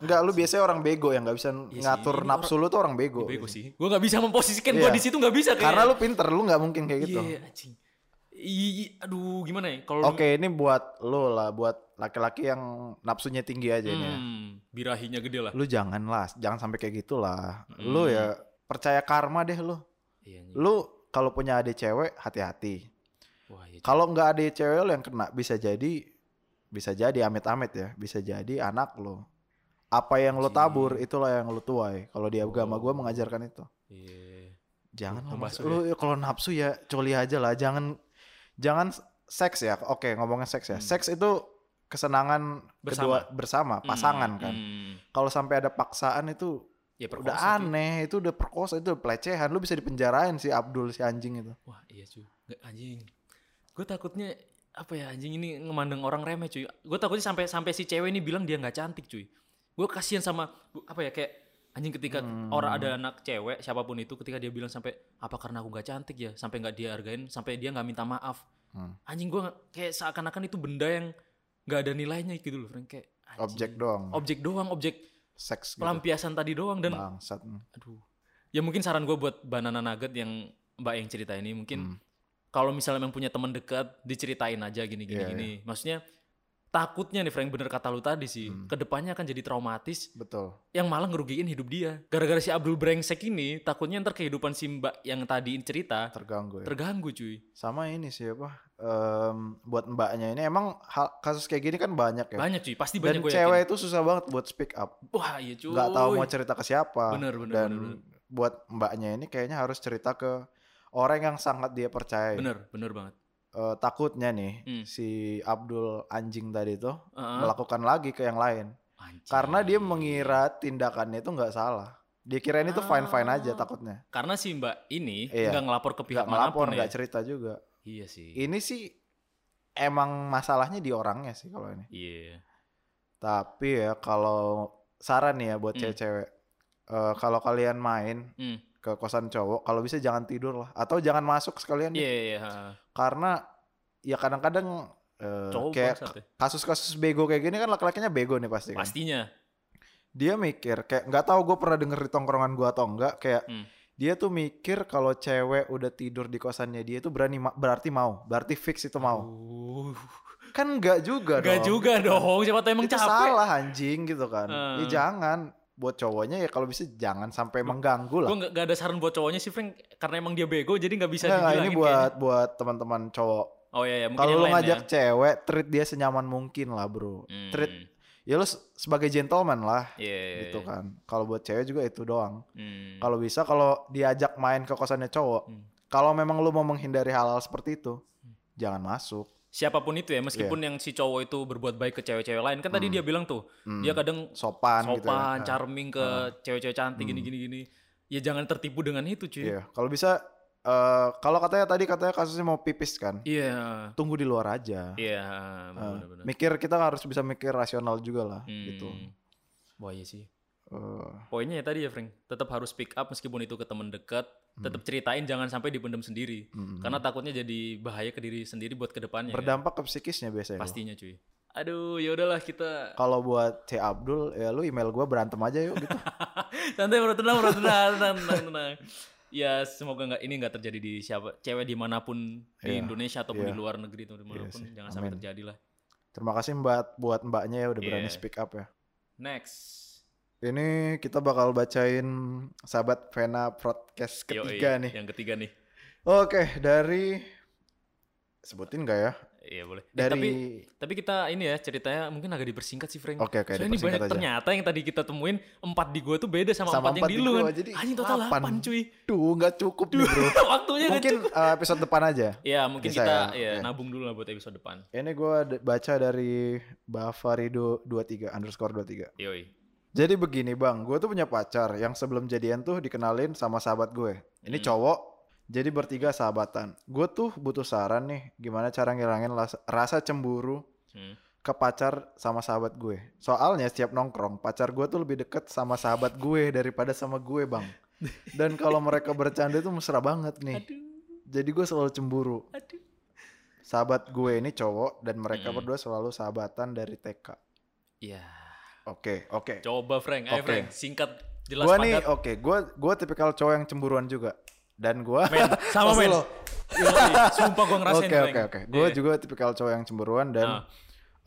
Enggak, lu biasanya orang bego yang nggak bisa
Iya sih,
ngatur
ini
nafsu lu tuh orang bego.
Bego sih. Gue nggak bisa memposisikan gue
Iya.
di situ nggak bisa kayaknya.
Karena lu pinter, lu nggak mungkin kayak gitu.
Iya, anjing. Iya, aduh gimana ya? Kalau
Oke, ini buat lu lah, buat laki-laki yang nafsunya tinggi aja ini. ya.
Hmm, birahinya gede lah.
lu jangan lah, jangan sampai kayak gitulah. Lu
Mm.
ya percaya karma deh lu.
Iya, anjing.
Lu kalau punya adik cewek hati-hati.
Wah, iya.
Kalau nggak adik cewek lu yang kena bisa jadi bisa jadi amit-amit ya, bisa jadi anak lu. Apa yang lu
Anjing.
tabur itulah yang lu tuai. Kalau di agama
Iya. Oh.
gua mengajarkan itu.
Iya.
Jangan lah,
Membasuh
Mas. lu ya kalau nafsu ya coli aja lah, jangan jangan s- seks ya. Oke, ngomongin seks ya.
Hmm.
Seks itu kesenangan kedua bersama, pasangan
Hmm,
kan.
hmm.
Kalau sampai ada paksaan itu
Ya,
udah
perkosa, cuy.
aneh itu udah perkosa itu udah pelecehan lu bisa dipenjarain si Abdul si anjing itu
Wah iya cuy, nggak anjing. Gue takutnya apa ya anjing ini ngemandang orang remeh cuy. Gue takutnya sampai sampai si cewek ini bilang dia nggak cantik cuy. Gue kasihan sama bu- apa ya kayak anjing ketika
Hmm.
orang ada anak cewek siapapun itu ketika dia bilang sampai apa karena aku nggak cantik ya sampai nggak dihargain sampai dia nggak minta maaf.
Hmm.
Anjing gue kayak seakan-akan itu benda yang nggak ada nilainya gitu loh, Frank. Kayak anjing.
objek doang
objek doang, objek
seks gitu
pelampiasan tadi doang dan
bangsat Hmm,
aduh ya mungkin saran gue buat banana nugget yang mbak yang cerita ini
Hmm.
mungkin kalau misalnya memang punya teman dekat diceritain aja gini gini
Iya, Hmm.
gini maksudnya takutnya nih Frank bener kata lu tadi sih kedepannya akan jadi traumatis
betul
yang malah ngerugiin hidup dia gara-gara si Abdul brengsek ini takutnya ntar kehidupan si mbak yang tadi cerita
terganggu ya
terganggu cuy
sama ini sih apa em, buat mbaknya ini emang hal- kasus kayak gini kan banyak ya
banyak cuy pasti
dan
banyak gue
cewek itu susah banget buat speak up
yakin. wah iya cuy
nggak tahu mau cerita ke siapa
Bener, bener,
dan
bener,
buat mbaknya ini kayaknya harus cerita ke orang yang sangat dia percaya
bener bener banget
Eh, takutnya nih
Hmm.
si Abdul anjing tadi tuh
Heeh.
melakukan lagi ke yang lain
Anjing.
Karena dia mengira tindakannya itu nggak salah. Dia kirain itu fine fine aja
Ah.
takutnya.
karena si mbak ini
Iya.
nggak ngelapor ke
Nggak
pihak
melapor,
manapun
nggak
ya
cerita juga.
iya sih
Ini sih emang masalahnya di orangnya sih kalau ini.
Iya.
Tapi ya kalau saran nih ya buat
Hmm.
cewek-cewek, Eh, kalau kalian main
Hmm.
ke kosan cowok, kalau bisa jangan tidur lah, atau jangan masuk sekalian deh.
Iya, iya, iya.
karena ya kadang-kadang eh,
Cowok
kayak
bangsat ya.
kasus-kasus bego kayak gini kan laki-lakinya bego nih pasti kan.
Pastinya.
dia mikir kayak nggak tahu gue pernah denger di tongkrongan gue atau enggak kayak
Hmm.
dia tuh mikir kalau cewek udah tidur di kosannya dia tuh berani ma- berarti mau berarti fix itu mau
Uh,
kan nggak juga
Gak
dong
juga dong. Siapa tahu emang
itu
capek.
salah anjing gitu kan ya
Hmm.
jangan buat cowoknya ya kalau bisa jangan sampai mengganggu lah
Gue gak, ada saran buat cowoknya sih Frank karena emang dia bego jadi gak bisa
Nggak, nggak, ini
dibilangin
buat buat teman-teman cowok
kayaknya. Oh iya iya mungkin
kalau
yang
lu
lain
ngajak
ya.
cewek treat dia senyaman mungkin lah bro
Hmm,
treat ya lu se- sebagai gentleman lah
Iya. iya,
gitu
iya.
kan kalau buat cewek juga itu doang
Hmm.
kalau bisa kalau diajak main ke kosannya cowok
Hmm.
kalau memang lu mau menghindari hal-hal seperti itu jangan masuk
siapapun itu ya meskipun
Iya.
yang si cowok itu berbuat baik ke cewek-cewek lain kan tadi dia bilang tuh dia kadang
sopan, Hmm. gitu ya.
Iya, kan? sopan
Nah,
charming ke cewek-cewek cantik gini-gini gini ya jangan tertipu dengan itu cuy iya
Iya, kalau bisa eh, kalau katanya tadi katanya kasusnya mau pipis kan.
iya
Tunggu di luar aja. Eh,
benar-benar
mikir kita harus bisa mikir rasional juga lah
Iya. Hmm.
gitu.
wah iya sih
Eh,
poinnya ya tadi ya Frank tetap harus pick up meskipun itu ke teman dekat
Hmm.
tetap ceritain jangan sampai dipendam sendiri
mm.
karena takutnya jadi bahaya ke diri sendiri buat kedepannya ya.
berdampak ke psikisnya biasanya. loh.
pastinya cuy aduh ya udahlah kita
Kalau buat C Abdul ya lu email gua berantem aja yuk gitu.
santai bro tenang bro tenang tenang tenang, tenang. ya semoga nggak ini nggak terjadi di siapa cewek dimanapun di
Iya,
Indonesia ataupun
iya.
di luar negeri itu dimanapun
sih,
jangan sampai
amin.
terjadi lah
Terima kasih Mbak buat Mbaknya ya udah berani
Iya.
speak up ya.
next
Ini kita bakal bacain sahabat Vena podcast
Yoi, Iya.
ketiga nih.
yang ketiga nih
Oke, dari sebutin gak ya?
iya boleh Eh,
Dari
tapi tapi kita ini ya ceritanya mungkin agak dipersingkat sih Frank
Oke, oke,
soalnya ini
dipersingkat
banyak
aja.
ternyata yang tadi kita temuin empat di gua tuh beda sama,
Sama
empat yang
empat
di
di
lu
gua,
kan
jadi
anjing total
delapan.
delapan cuy
Duh, nggak cukup nih, Bro.
waktunya nggak
Mungkin
cukup.
eh, episode depan aja.
ya mungkin
Bisa
kita
ya,
ya,
oke.
nabung dulu lah buat episode depan
Ini gua d- baca dari Bavarido 23 underscore 23.
yoi
Jadi begini bang, gue tuh punya pacar yang sebelum jadian tuh dikenalin sama sahabat gue. Ini
Hmm.
cowok, jadi bertiga sahabatan. Gue tuh butuh saran nih, gimana cara ngilangin las- rasa cemburu
Hmm.
ke pacar sama sahabat gue. Soalnya setiap nongkrong, pacar gue tuh lebih deket sama sahabat gue daripada sama gue bang. Dan kalau mereka bercanda tuh mesra banget nih.
aduh
Jadi gue selalu cemburu.
aduh
Sahabat gue ini cowok dan mereka
Mm-mm.
berdua selalu sahabatan dari TK.
ya
Oke, oke.
Coba Frank, ayo
Oke.
Frank, singkat jelas
Gue nih,
padat.
oke. Gue gue tipikal cowok yang cemburuan juga. Dan gue
Men, sama
Pasti
men.
lo.
Iya, Sumpah gue ngerasain
Oke,
Frank.
oke, oke. Gue
Iya.
juga tipikal cowok yang cemburuan dan
Ah.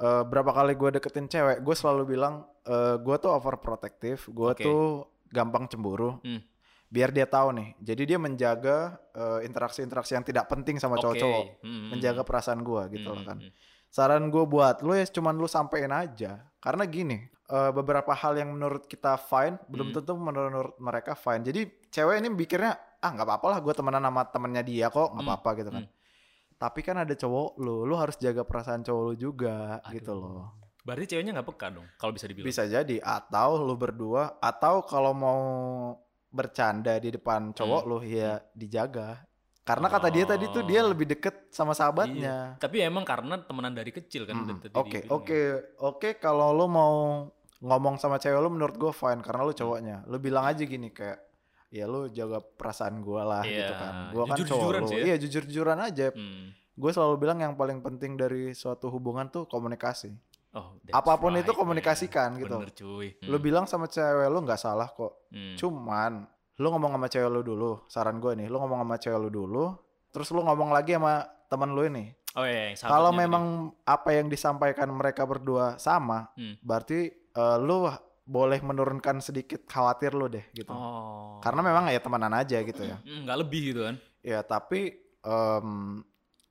eh, berapa kali gue deketin cewek, gue selalu bilang eh, gue tuh overprotective, gue
Oke.
tuh gampang cemburu.
Hmm.
Biar dia tahu nih. Jadi dia menjaga eh, interaksi-interaksi yang tidak penting sama
Oke.
cowok-cowok,
Hmm,
menjaga
hmm,
perasaan gue gitu
hmm,
loh kan.
hmm.
Saran gue buat lu ya cuman lu sampein aja. Karena gini, eh, beberapa hal yang menurut kita fine, belum
Hmm.
tentu menurut mereka fine. Jadi cewek ini mikirnya, ah nggak apa-apa lah gue temenan sama temennya dia kok, nggak
Hmm,
apa-apa gitu kan. Tapi kan ada cowok lu, lu harus jaga perasaan cowok lu juga
Aduh.
gitu loh.
Berarti ceweknya nggak peka dong, kalau bisa dibilang.
Bisa jadi, atau lu berdua, atau kalau mau bercanda di depan cowok
Hmm.
lu ya dijaga. Karena kata dia tadi tuh dia
Oh.
lebih deket sama sahabatnya.
Tapi ya emang karena temenan dari kecil kan.
Mm-mm.
dari tadi
Hmm, Oke,
dibilang. ya.
oke, oke. Kalau lo mau ngomong sama cewek lo, menurut gue fine karena
Hmm.
lo cowoknya. Lo bilang aja gini kayak, ya lo jaga perasaan gue lah gitu
Iya,
kan. Gue kan cowok
jujur-jujuran
lo.
sih ya.
Iya jujur-jujuran aja.
Hmm.
Gue selalu bilang yang paling penting dari suatu hubungan tuh komunikasi.
Oh, that's
Apapun itu
right,
komunikasikan
man.
gitu.
Bener cuy. Hmm,
Lo bilang sama cewek lo nggak salah kok.
hmm.
Cuman lo ngomong sama cewek lo dulu. Saran gue nih, lo ngomong sama cewek lo dulu. Terus lo ngomong lagi sama teman lo ini.
Oh iya, yang sahabatnya
Kalau
tadi.
memang apa yang disampaikan mereka berdua sama,
Hmm.
berarti eh, lu boleh menurunkan sedikit khawatir lu deh gitu.
Oh.
Karena memang ya temanan aja gitu ya.
Hmm, nggak lebih gitu kan.
Ya tapi em,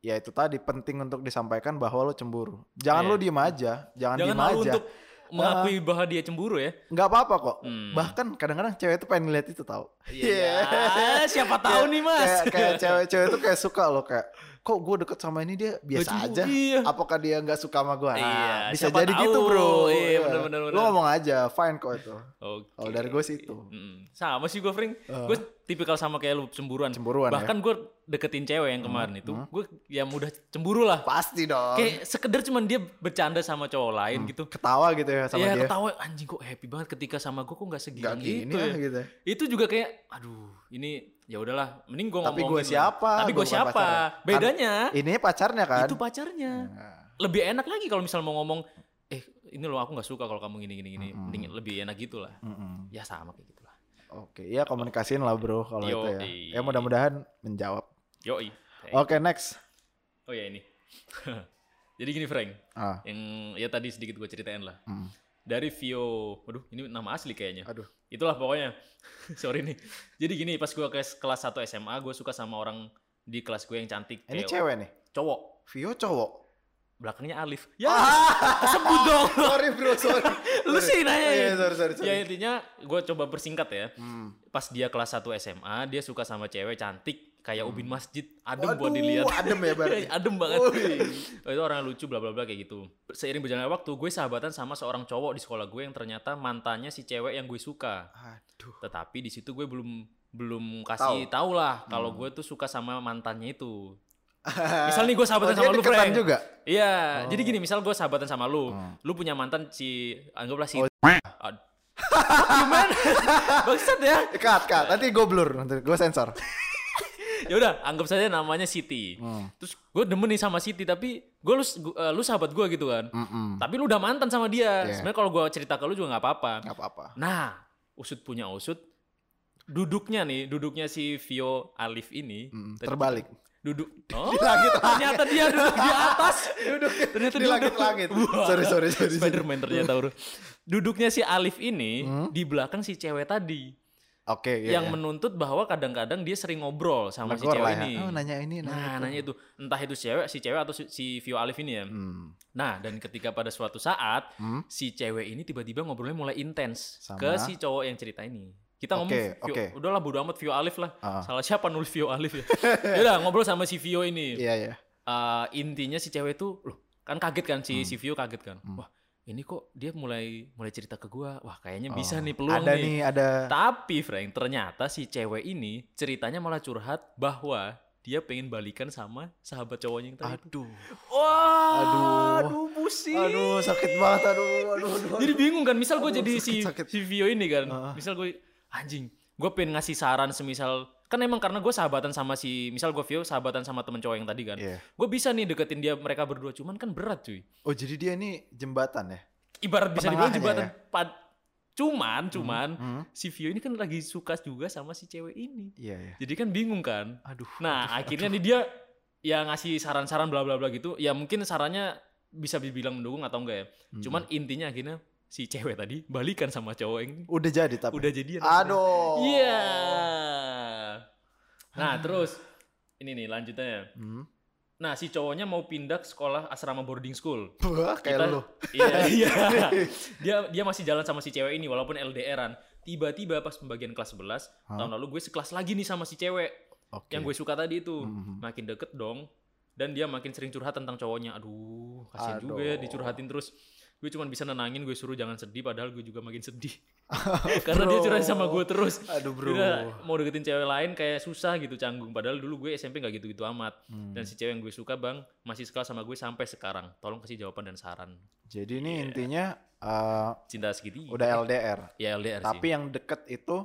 ya itu tadi penting untuk disampaikan bahwa lu cemburu. Jangan
Iya.
lu diem aja, jangan,
Jangan
diem
malu
aja.
untuk mengakui bahwa dia cemburu ya.
nggak apa-apa kok.
Hmm.
Bahkan kadang-kadang cewek itu pengen lihat itu tau.
Iya. Siapa tahu nih mas.
Kayak kayak cewek-cewek itu kayak suka loh kayak kok gue deket sama ini dia biasa
Baju-
aja.
Iya.
apakah dia nggak suka sama gue?
Iya,
bisa
siapa
jadi
tahu.
gitu bro.
Iya,
Iya.
bener-bener,
Lu
bener.
ngomong aja, fine kok itu.
Oke.
Kalau dari gue sih itu.
Mm, Oh, sama sih gue Fring.
Eh.
Gue tipikal sama kayak lu cemburuan.
Cemburuan ya. Mm-hmm.
Bahkan gue deketin cewek yang kemarin itu, gue ya mudah cemburu lah.
Pasti dong.
Kayak sekedar cuman dia bercanda sama cowok lain gitu.
Ketawa gitu ya sama
Iya
dia.
ketawa anjing kok happy banget ketika sama gue kok nggak segini
Gak gini
gitu
ya
ya.
gitu.
Itu juga kayak aduh ini ya udahlah mending gue
Tapi
ngomongin.
gue
lah.
siapa?
Tapi
Gua
gue
bukan
siapa?
pacarnya. Kan-
Bedanya
Ini pacarnya kan?
itu pacarnya.
Nah,
Lebih enak lagi kalau misal mau ngomong eh ini loh aku nggak suka kalau kamu gini gini gini.
Mm-mm.
Mending lebih enak gitu lah.
mm-mm.
Ya sama kayak gitu lah.
Oke, ya komunikasiin lah bro kalau itu ya.
Yoi.
Ya mudah-mudahan menjawab.
Yoi.
Oke next.
Oh ya ini. Jadi gini Frank,
Ah,
yang ya tadi sedikit gue ceritain lah.
mm.
Dari Vio, waduh ini nama asli kayaknya.
Aduh.
Itulah pokoknya. Sorry nih. Jadi gini, pas gue ke kelas 1 SMA, gue suka sama orang di kelas gue yang cantik.
Ini
kayak
cewek nih.
Cowok.
Vio cowok. Ah,
Belakangnya Alif. Ya, sebut dong.
sorry bro, sorry.
Lu
Sorry.
sih nanya.
Iya,
ya.
sorry, sorry, sorry.
Ya intinya gue coba persingkat ya.
Hmm.
Pas dia kelas 1 SMA, dia suka sama cewek cantik kayak ubin masjid adem
Hmm. Waduh,
buat dilihat Iya,
adem ya berarti.
adem banget
Wih.
Oh, itu orang lucu bla bla bla kayak gitu seiring berjalannya waktu gue sahabatan sama seorang cowok di sekolah gue yang ternyata mantannya si cewek yang gue suka
Aduh.
tetapi di situ gue belum belum kasih tahu lah kalau
Hmm.
gue tuh suka sama mantannya itu misal nih gue sahabatan
Oh, dia
sama lu
deketan
Frank
juga? Oh. Hmm.
iya jadi gini misal gue sahabatan sama lu lu punya mantan si anggaplah
Oh.
si Ad- Gimana? Bangsat ya.
Eh, Cut, cut. Nanti gue blur, nanti gue sensor.
ya udah anggap saja namanya Siti
Hmm.
terus gue demen nih sama Siti tapi gue lu gua- eh, lu sahabat gue gitu kan
Mm-mm.
tapi lu udah mantan sama
Hmm.
dia
Iya.
sebenarnya kalau gue cerita ke lu juga nggak apa-apa
Gak apa-apa.
nah usut punya usut duduknya nih duduknya si Vio Alif ini
Mm,
tadi-
terbalik.
duduk oh,
langit.
ternyata dia duduk di atas duduk ternyata
Di
dia
langit-langit.
duduk. Wah,
Sorry, sorry, sorry, sorry.
Spiderman ternyata bro. duduknya si Alif ini di belakang si cewek tadi
Oke, Hmm? iya,
yang
iya.
menuntut bahwa kadang-kadang dia sering ngobrol sama si
Negor lah
cewek
ya.
ini.
Oh, nanya ini, nanya
nah,
itu.
nanya itu entah itu si cewek, si cewek atau si, si Vio Alif ini ya.
Hmm.
Nah, dan ketika pada suatu saat
Hmm.
si cewek ini tiba-tiba ngobrolnya mulai intens
Sama?
ke si cowok yang cerita ini. Kita ngomong,
Oke,
Vio-
oke.
udahlah bodo amat Vio Alif lah.
Ah.
Salah siapa nulis Vio Alif ya? Yaudah ngobrol sama si Vio ini.
Iya, iya.
Eh, intinya si cewek itu loh kan kaget kan
Hmm.
si si Vio kaget kan. Wah, ini kok dia mulai mulai cerita ke gua. Wah, kayaknya bisa nih
Oh,
peluang
Ah. Ada nih, ada.
tapi Frank, ternyata si cewek ini ceritanya malah curhat bahwa dia pengen balikan sama sahabat cowoknya yang tadi.
Aduh.
Wah,
Aduh.
pusing.
Aduh, sakit banget. Aduh, aduh, aduh.
Jadi bingung kan, misal gue
Aduh,
jadi
sakit,
si,
sakit.
si Vio ini kan,
Ah.
misal gue, anjing, gue pengen ngasih saran semisal, kan emang karena gue sahabatan sama si, misal gue Vio sahabatan sama temen cowok yang tadi kan,
Iya.
gue bisa nih deketin dia mereka berdua, cuman kan berat cuy.
Oh, jadi dia ini jembatan ya?
Ibarat bisa dibilang
Pertengahannya
jembatan, pad- cuman, cuman,
ya. Hmm.
si Vio ini kan lagi suka juga sama si cewek ini.
Iya, iya. Hmm.
Jadi kan bingung kan.
Aduh.
Nah, akhirnya nih dia ya ngasih saran-saran bla bla bla gitu. Ya mungkin sarannya bisa dibilang mendukung atau enggak ya.
Hmm.
Cuman intinya akhirnya si cewek tadi balikan sama cowok yang ini.
Udah jadi tapi.
udah jadian.
Aduh.
Iya. Nah, terus ini nih lanjutannya.
Hmm.
Nah, si cowoknya mau pindah ke sekolah asrama boarding school.
Wah, kayak
Kita-
lu.
Iya, iya. Dia dia masih jalan sama si cewek ini walaupun LDRan. Tiba-tiba pas pembagian kelas 11,
Hah?
tahun lalu gue sekelas lagi nih sama si cewek
Oke.
yang gue suka tadi itu
Mhm.
makin deket dong dan dia makin sering curhat tentang cowoknya aduh kasihan
Aduh.
juga ya dicurhatin terus gue cuma bisa nenangin gue suruh jangan sedih padahal gue juga makin sedih karena dia
Bro.
curhat sama gue terus
Aduh, bro.
Udah, mau deketin cewek lain kayak susah gitu canggung padahal dulu gue SMP nggak gitu-gitu amat
Hmm.
dan si cewek yang gue suka bang masih sekelas sama gue sampai sekarang tolong kasih jawaban dan saran
Jadi ini intinya eh,
cinta segitiga
udah LDR.
ya LDR
Tapi
Iya. sih
yang deket itu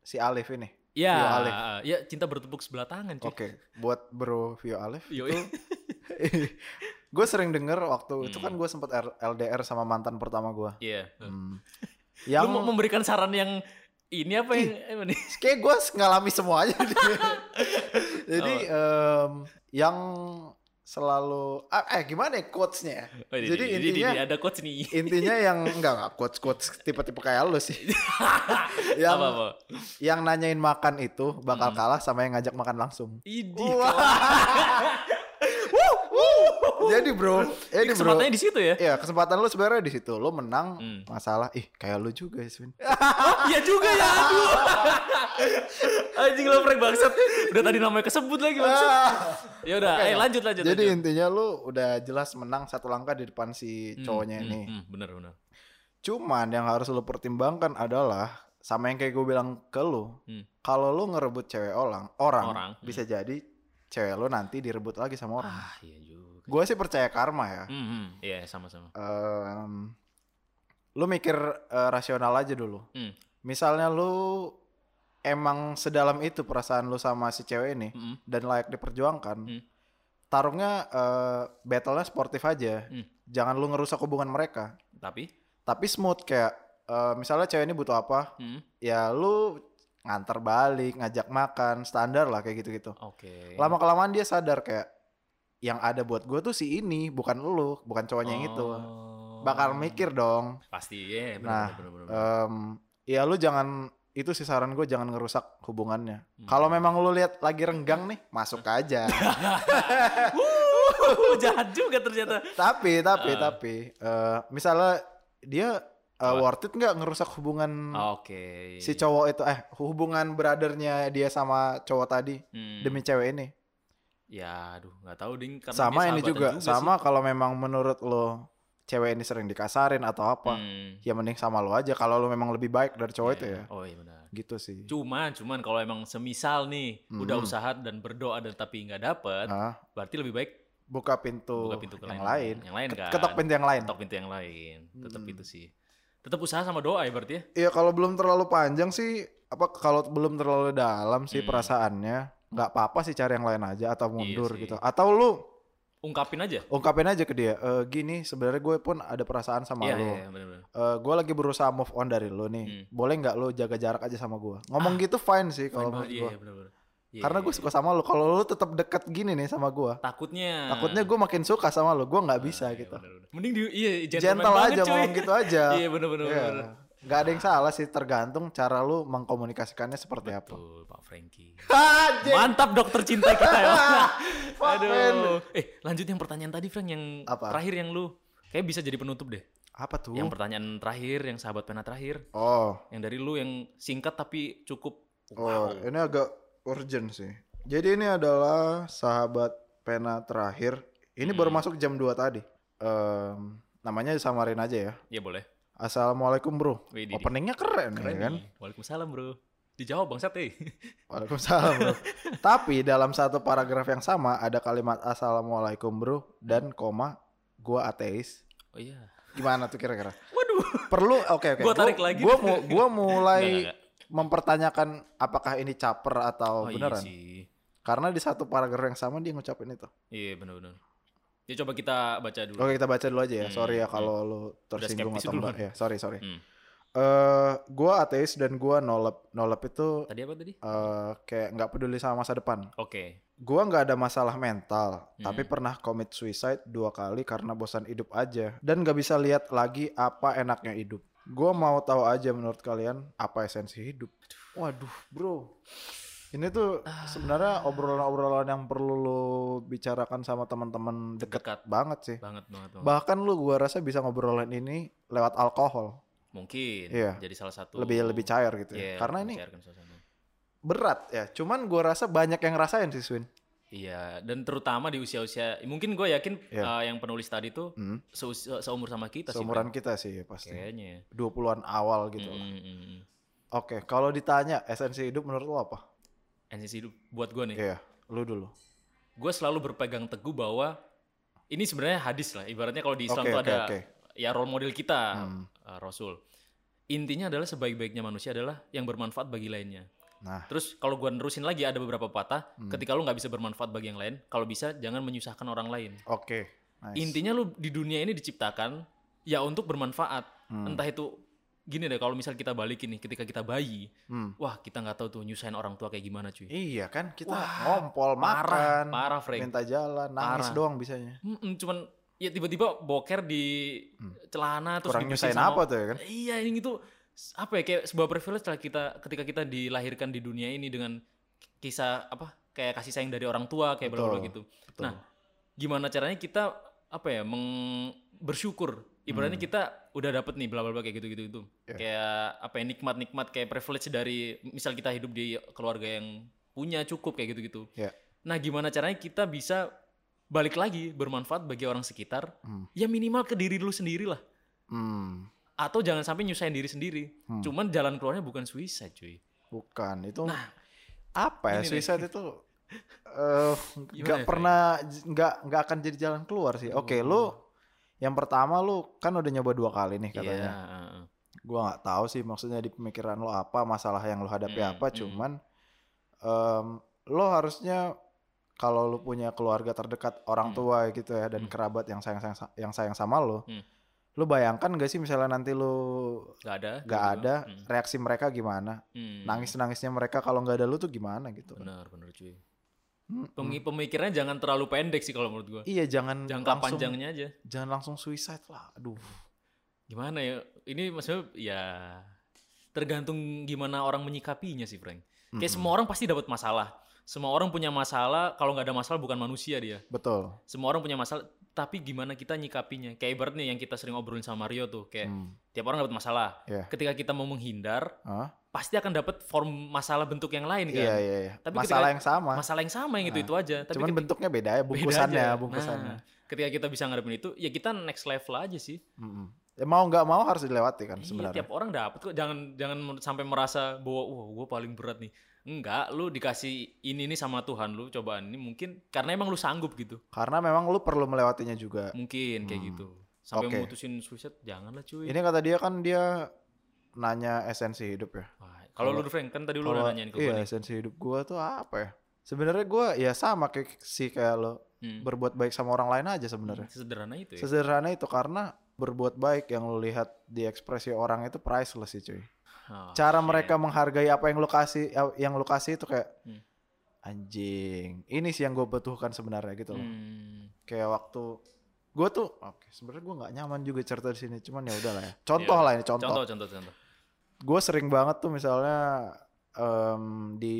si Alif ini.
ya
Vio Alif.
ya cinta bertepuk sebelah tangan cuy
Oke, buat Bro Vio Alif.
Yo,
gue sering denger waktu itu kan
Hmm.
gue sempet R- LDR sama mantan pertama gue.
iya
Hmm.
Lu mau
Yang
memberikan saran yang ini apa yang apa nih?
kayak gue ngalami semuanya. Jadi
Oh.
em, yang selalu ah, eh gimana ya quotesnya ya?
Oh, ini,
Jadi
ini, ini,
intinya
ini, ada coach nih.
intinya yang enggak enggak quotes quotes tipe-tipe kayak lu sih. yang
apa Hmm. apa?
yang nanyain makan itu bakal kalah sama yang ngajak makan langsung.
Idi.
Wah. Wuh, wuh. Jadi bro,
Ini
ini bro.
kesempatannya di situ ya?
Iya, kesempatan lu sebenarnya di situ. Lu menang
Hmm.
masalah ih kayak lu juga, Swin.
Iya juga ya, aduh. Anjing lo prank bangsat. Udah tadi namanya kesebut lagi bangsat. Ya udah, eh lanjut lanjut.
Ah. Jadi
lanjut.
intinya lu udah jelas menang satu langkah di depan si
Hmm,
Gitu, cowoknya
hmm,
ini.
hmm, bener bener.
Cuman yang harus lu pertimbangkan adalah sama yang kayak gue bilang ke lu,
Hmm.
kalau lu ngerebut cewek orang, orang,
Orang, hmm.
bisa jadi cewek lu nanti direbut lagi sama orang.
Ah, iya juga.
Gue sih percaya karma ya.
Hmm, hmm, Iya, sama-sama.
Em, lu mikir eh, rasional aja dulu.
Hmm.
Misalnya lu emang sedalam itu perasaan lu sama si cewek ini
Hmm, hmm.
dan layak diperjuangkan,
Hmm.
tarungnya eh, battle-nya sportif aja.
Hmm.
Jangan lu ngerusak hubungan mereka.
Tapi,
Tapi smooth kayak eh, misalnya cewek ini butuh apa,
hmm,
ya lu nganter balik, ngajak makan, standar lah kayak gitu-gitu.
oke.
Lama kelamaan dia sadar kayak yang ada buat gue tuh si ini, bukan lu, bukan cowoknya yang itu.
Oh.
Bakal mikir dong.
Pasti, iya, bener,
Nah,
bener, bener, bener.
Em, ya lu jangan itu sih saran gue jangan ngerusak hubungannya.
Hmm.
eh, Kalau memang lu lihat lagi renggang nih, masuk aja.
Hmm. Wuh, jahat juga ternyata.
tapi tapi
Ah.
tapi eh, misalnya dia eh, worth it nggak ngerusak hubungan Hmm.
Oke.
si cowok itu eh hubungan brothernya dia sama cowok tadi
Hmm.
demi cewek ini
Ya, aduh, nggak tahu ding. Karena
sama
dia
ini
sahabatan
juga,
sih.
sama kalau memang menurut lo cewek ini sering dikasarin atau apa
Hmm.
ya mending sama lo aja kalau lo memang lebih baik dari cowok itu ya
Oh iya benar.
gitu sih
Cuman, cuman kalau emang semisal nih udah
Mhm.
usaha dan berdoa dan tapi nggak dapet,
Hah?
berarti lebih baik
Ah, buka pintu,
buka pintu ke
Nah. yang lain,
Yang lain kan.
ketok pintu yang lain
Ketok pintu yang lain. Tetap
Mhm.
itu sih. Tetap usaha sama doa ya berarti ya.
Iya kalau belum terlalu panjang sih apa kalau belum terlalu dalam sih
Hmm. Iya
perasaannya nggak apa-apa sih cari yang lain aja atau mundur
sih.
gitu atau lu
Ungkapin aja.
ungkapin aja ke dia "Eh, gini sebenarnya gue pun ada perasaan sama
Iya,
lu
iya, Hmm. benar-benar.
Eh, gue lagi berusaha move on dari lu nih boleh nggak lu jaga jarak aja sama gue ngomong gitu fine sih kalau menurut
Iya,
gue
Ah. iya, benar-benar. Iya,
karena
iya,
gue
iya.
suka sama lu kalau lu tetap deket gini nih sama gue
takutnya.
takutnya gue makin suka sama lu gue nggak bisa
Ah. Iya,
gitu
benar-benar. Mending di iya
gentle
banget,
aja
cuy.
ngomong gitu aja
Iya, benar-benar.
Iya.
benar-benar.
Nggak ada yang salah sih tergantung cara lu mengkomunikasikannya seperti apa.
Betul, Pak Frankie.
Anjing.
Mantap dokter cinta kita ya.
Fuck, man.
Aduh. Eh, lanjut yang pertanyaan tadi Frank yang
Apa?
terakhir yang lu kayak bisa jadi penutup deh.
Apa tuh?
Yang pertanyaan terakhir, yang sahabat pena terakhir,
Oh,
yang dari lu yang singkat tapi cukup
oh, ini agak urgent sih. Jadi ini adalah sahabat pena terakhir. Ini baru
Hmm.
masuk jam 2 tadi. Em, namanya samarin aja ya.
Ya boleh.
Assalamualaikum bro.
Wih, Didi.
Openingnya keren,
Keren
ya kan?
nih. Waalaikumsalam, Bro. Dijawab Bang Sat, eh.
Waalaikumsalam bro. Tapi dalam satu paragraf yang sama ada kalimat assalamualaikum bro dan koma gua ateis.
Oh iya.
Gimana tuh kira-kira?
Waduh.
perlu oke oke
Gua tarik lagi.
gua mu- gua mulai
Nggak, nggak, nggak.
mempertanyakan apakah ini caper atau
Oh, iya
beneran
sih.
karena di satu paragraf yang sama dia ngucapin itu
Iya, benar-benar. Ya coba kita baca dulu.
oke kita baca dulu aja ya
Hmm,
sorry ya
hmm.
kalau lu tersinggung
skeptis
atau enggak
duluan.
ya sorry sorry eh
Hmm.
gua ateis dan gua nolep nolep itu
Tadi apa tadi?
eh kayak nggak peduli sama masa depan
Oke.
gua nggak ada masalah mental
Hmm.
tapi pernah commit suicide dua kali karena bosan hidup aja dan nggak bisa lihat lagi apa enaknya hidup gua mau tahu aja menurut kalian apa esensi hidup waduh bro ini tuh
Ah.
sebenarnya obrolan-obrolan yang perlu lo bicarakan sama teman-teman deket
Dekat Oh.
banget sih
banget banget. banget.
bahkan lu gua rasa bisa ngobrolan ini lewat alkohol
Mungkin
Iya.
jadi salah satu
lebih lebih cair gitu ya.
Iya,
karena ini
mencairkan suasana.
berat ya cuman gua rasa banyak yang rasain sih Swin
Iya, dan terutama di usia-usia mungkin gue yakin
Iya.
eh, yang penulis tadi tuh
hmm,
seusia- seumur sama kita
seumuran
sih.
kita sih ya,
Frank.
pasti
kayaknya.
20-an awal gitu lah.
Mm, mm, mm.
Oke, kalau ditanya esensi hidup menurut lo apa?
NCC hidup buat gue nih.
Iya, lu dulu.
Gue selalu berpegang teguh bahwa ini sebenarnya hadis lah. Ibaratnya kalau di Islam
Oke,
tuh
oke,
ada
oke.
ya role model kita
Hmm.
eh, Rasul. Intinya adalah sebaik-baiknya manusia adalah yang bermanfaat bagi lainnya.
Nah,
Terus kalau gue nerusin lagi ada beberapa patah.
Hmm.
Ketika lu nggak bisa bermanfaat bagi yang lain, kalau bisa jangan menyusahkan orang lain.
oke. Nice.
intinya lu di dunia ini diciptakan ya untuk bermanfaat
Hmm,
entah itu gini deh kalau misal kita balik ini ketika kita bayi
hmm.
wah kita nggak tahu tuh nyusahin orang tua kayak gimana cuy
Iya kan, kita
Wah,
ngompol makan,
parah Frank
minta jalan, nangis
Parah.
doang bisanya.
Mm-mm, cuman ya tiba-tiba boker di
Hmm.
celana terus
Kurang
dibersihin
nyusahin
sama-
apa tuh ya kan?
iya ini tuh s- apa ya kayak sebuah privilege lah kita ketika kita dilahirkan di dunia ini dengan kisah apa kayak kasih sayang dari orang tua kayak
Betul.
bla gitu
Betul.
Nah, gimana caranya kita apa ya meng bersyukur ibaratnya
Hmm.
kita udah dapet nih bla bla bla kayak gitu gitu itu
Ya.
kayak apa ya nikmat nikmat kayak privilege dari misal kita hidup di keluarga yang punya cukup kayak gitu gitu
Ya.
nah gimana caranya kita bisa balik lagi bermanfaat bagi orang sekitar
Hmm.
ya minimal ke diri lu sendiri lah
Hmm,
atau jangan sampai nyusahin diri sendiri
hmm.
cuman jalan keluarnya bukan suicide cuy
Bukan, itu
nah
apa ya?
gini deh.
Suicide itu eh, nggak
ya, Hmm. Frank?
pernah, j- nggak nggak akan jadi jalan keluar sih. Oke,
Aduh.
lu yang pertama lu kan udah nyoba dua kali nih katanya.
iya, heeh.
gua nggak tahu sih maksudnya di pemikiran lo apa masalah yang lo hadapi
Hmm,
apa
hmm.
cuman em, lo harusnya kalau lo punya keluarga terdekat orang
Hmm.
tua gitu ya dan
Hmm.
kerabat yang sayang sayang yang sayang sama lo
Hmm.
lo bayangkan gak sih misalnya nanti lo
nggak ada
nggak
tiba-tiba.
ada
Mm,
reaksi mereka gimana
mm.
nangis nangisnya mereka kalau nggak ada lo tuh gimana gitu
benar benar cuy
Hmm, hmm.
Pemi- Pemikirannya jangan terlalu pendek sih kalau menurut gua.
iya jangan
Jangka
langsung
panjangnya aja.
jangan langsung suicide lah aduh
Gimana ya? Ini maksudnya ya tergantung gimana orang menyikapinya sih, Frank. Kayak
Mm-mm.
semua orang pasti dapat masalah. Semua orang punya masalah. Kalau nggak ada masalah bukan manusia dia.
betul
Semua orang punya masalah. tapi gimana kita nyikapinya kayak ibaratnya yang kita sering obrolin sama Mario tuh kayak
Hmm.
tiap orang dapat masalah
Iya.
ketika kita mau menghindar
Hah?
pasti akan dapat form masalah bentuk yang lain kan
Iya iya iya.
Tapi
Masalah
ketika-
yang sama.
masalah yang sama yang itu itu aja tapi
Cuman
ketika-
bentuknya beda ya
beda
bungkusannya,
aja.
bungkusannya.
Nah, ketika kita bisa ngadepin itu ya kita next level aja sih
Mm-mm. Ya, mau nggak mau harus dilewati kan
Iya,
sebenarnya.
tiap orang dapat kok. Jangan jangan men- sampai merasa bahwa wah gue paling berat nih. Enggak, lu dikasih ini nih sama Tuhan lu cobaan ini mungkin karena emang lu sanggup gitu.
Karena memang lu perlu melewatinya juga.
Mungkin kayak
Hmm.
gitu. Sampai
Oke.
mutusin suicide janganlah cuy.
Ini kata dia kan dia nanya esensi hidup ya.
Wah, kalau lu
Kalau-
Frank kan tadi lu
Kalau-
udah nanyain ke
iya,
gua nih.
esensi hidup gua tuh apa ya? Sebenarnya gua ya sama kayak si kayak lo
Hmm.
berbuat baik sama orang lain aja sebenarnya.
Sederhana itu ya.
Sesederhana itu karena berbuat baik yang lu lihat di ekspresi orang itu priceless sih cuy.
Ah,
cara
shit.
mereka menghargai apa yang lo kasih yang lo kasih itu kayak
Hmm.
anjing ini sih yang gue butuhkan sebenarnya gitu loh
Hmm.
kayak waktu gue tuh oke sebenarnya gue nggak nyaman juga cerita di sini cuman ya udahlah ya contoh
Iya.
lah ini contoh,
Contoh contoh contoh.
gue sering banget tuh misalnya em, di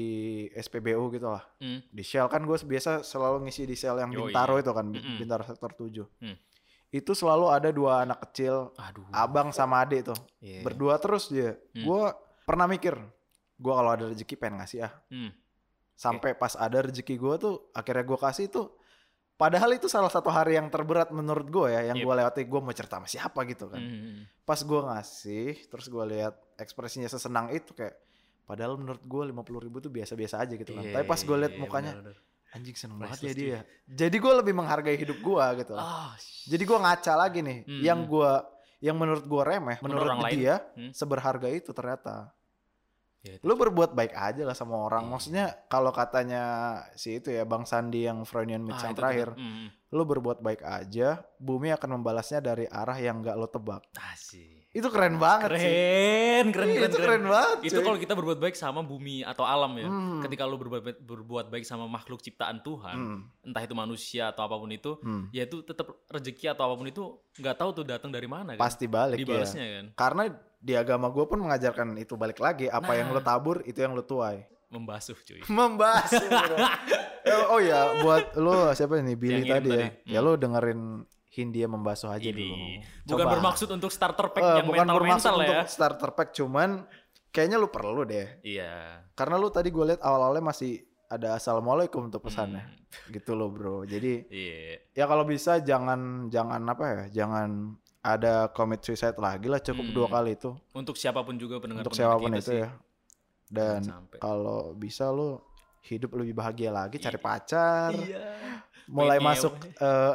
SPBU gitu lah
Hmm.
di Shell kan gue biasa selalu ngisi di Shell yang
Yoi.
Bintaro itu kan
Mm-mm.
Bintaro sektor 7
Hmm.
itu selalu ada dua anak kecil
Aduh.
abang sama adik tuh
Iya.
berdua terus dia.
Hmm.
Gue pernah mikir, gue kalau ada rezeki pengen ngasih ah.
Hmm.
Sampai pas ada rezeki gue tuh, akhirnya gue kasih tuh. Padahal itu salah satu hari yang terberat menurut gue ya, yang
Yep.
gue lewati. Gue mau cerita sama siapa gitu kan.
Iya. Hmm.
Pas gue ngasih, terus gue lihat ekspresinya sesenang itu kayak. Padahal menurut gue 50 ribu tuh biasa-biasa aja gitu kan.
Iya,
Tapi pas gue lihat
iya,
mukanya,
benar, benar.
anjing seneng banget ya
Priceless,
dia. ya." Jadi gue lebih menghargai hidup gue gitu. lah.
Ah,
Jadi gue ngaca lagi nih,
Hmm.
yang gue, yang menurut gue remeh, menurut
orang lain.
dia
Hmm.
seberharga itu ternyata.
ya itu.
lu berbuat baik aja lah sama orang.
Iya.
Maksudnya kalau katanya si itu ya Bang Sandi yang Freudian Mitch
Ah,
yang
itu
terakhir,
benar. Hmm.
lu berbuat baik aja, bumi akan membalasnya dari arah yang gak lo tebak.
Ah, sih.
Itu keren Iya, banget sih.
Keren, keren,
Iya,
keren,
itu keren banget.
Itu
cuy.
kalau kita berbuat baik sama bumi atau alam ya.
Hmm.
Ketika lu berbuat, berbuat baik sama makhluk ciptaan Tuhan,
Hmm,
entah itu manusia atau apapun itu,
hmm.
ya itu tetap rezeki atau apapun itu nggak tahu tuh datang dari mana kan.
pasti balik ya.
Dibalasnya kan,
Karena di agama gue pun mengajarkan itu balik lagi. Apa yang
Nah.
lo tabur itu yang lo tuai.
membasuh cuy.
Membahas. bro. Eh, oh ya, buat lo siapa nih Billy
Yang ngirim
tadi, ya.
tadi. Hmm.
Ya lo dengerin Hindia membasuh aja dulu.
Ini bukan
Coba.
bermaksud untuk starter pack
Eh,
yang
bukan bermaksud
mental-mental ya.
untuk starter pack cuman kayaknya lu perlu deh
Iya.
karena lu tadi gue lihat awal-awalnya masih ada assalamualaikum tuh pesannya
Hmm,
gitu loh bro jadi
Iya.
ya kalau bisa jangan jangan apa ya jangan ada commit suicide lagi lah cukup
Hmm.
dua kali itu
Untuk siapapun juga pendengar
untuk
pendengar
siapapun
kita
itu
gitu sih,
ya dan
jangan sampai.
kalau bisa lu hidup lebih bahagia lagi cari pacar
Iya.
mulai
pengen
masuk
ngewe.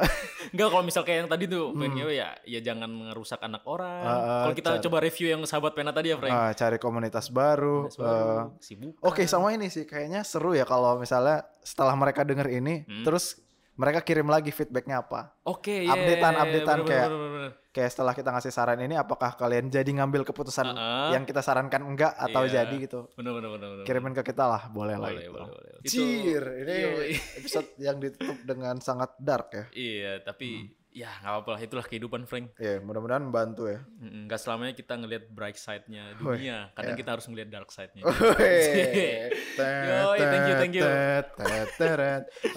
eh,
Enggak kalau misal kayak yang tadi tuh
Hmm.
pengen ngewe ya ya jangan ngerusak anak orang.
Ah, ah,
kalau kita
cara-
coba review yang sahabat pena tadi ya, Frank.
eh, cari komunitas baru,
Komunitas baru,
eh,
sibuk.
Oke, sama ini sih kayaknya seru ya kalau misalnya setelah mereka denger ini,
Hmm.
terus mereka kirim lagi feedbacknya apa?
Oke, ya.
updatean- updatean kayak,
bener,
Kayak setelah kita ngasih saran ini, apakah kalian jadi ngambil keputusan
Uh-uh.
yang kita sarankan enggak atau
Iya.
jadi gitu?
bener, bener, bener, bener.
Kirimin ke kita lah, boleh, lah.
boleh,
Gitu.
boleh, boleh. Itu- iya,
Cheer, ini
Yoi.
episode yang ditutup dengan sangat dark ya.
Iya, tapi ya nggak apa-apa lah, itulah kehidupan Frank.
Iya, mudah-mudahan bantu ya.
Mm, Nggak selamanya kita ngelihat bright side-nya
Woi,
dunia, kadang
iya.
kita harus ngelihat dark side-nya.
Yoi,
Yoi, thank you, thank you.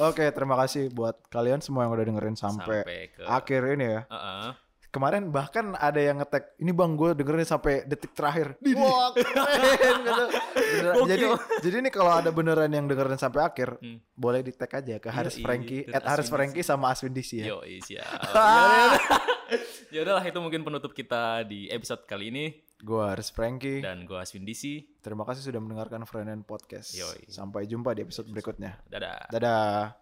Oke, terima kasih buat kalian semua yang udah dengerin sampai,
ke
akhir ini ya.
Heeh.
kemarin bahkan ada yang ngetek ini bang gue dengerin sampai detik terakhir wah keren gitu. Beneran.
Gokil.
jadi jadi ini kalau ada beneran yang dengerin sampai akhir
Hmm.
boleh di tag aja ke Haris
Yoi,
Frankie
dan
at Haris
Aswin
Frankie sama Aswin DC ya
Yo, siap. Ya, Ya udahlah itu mungkin penutup kita di episode kali ini
gue Haris Frankie
dan gua Aswin DC.
terima kasih sudah mendengarkan Friend and Podcast
Yoi.
sampai jumpa di episode berikutnya
Dadah.
dadah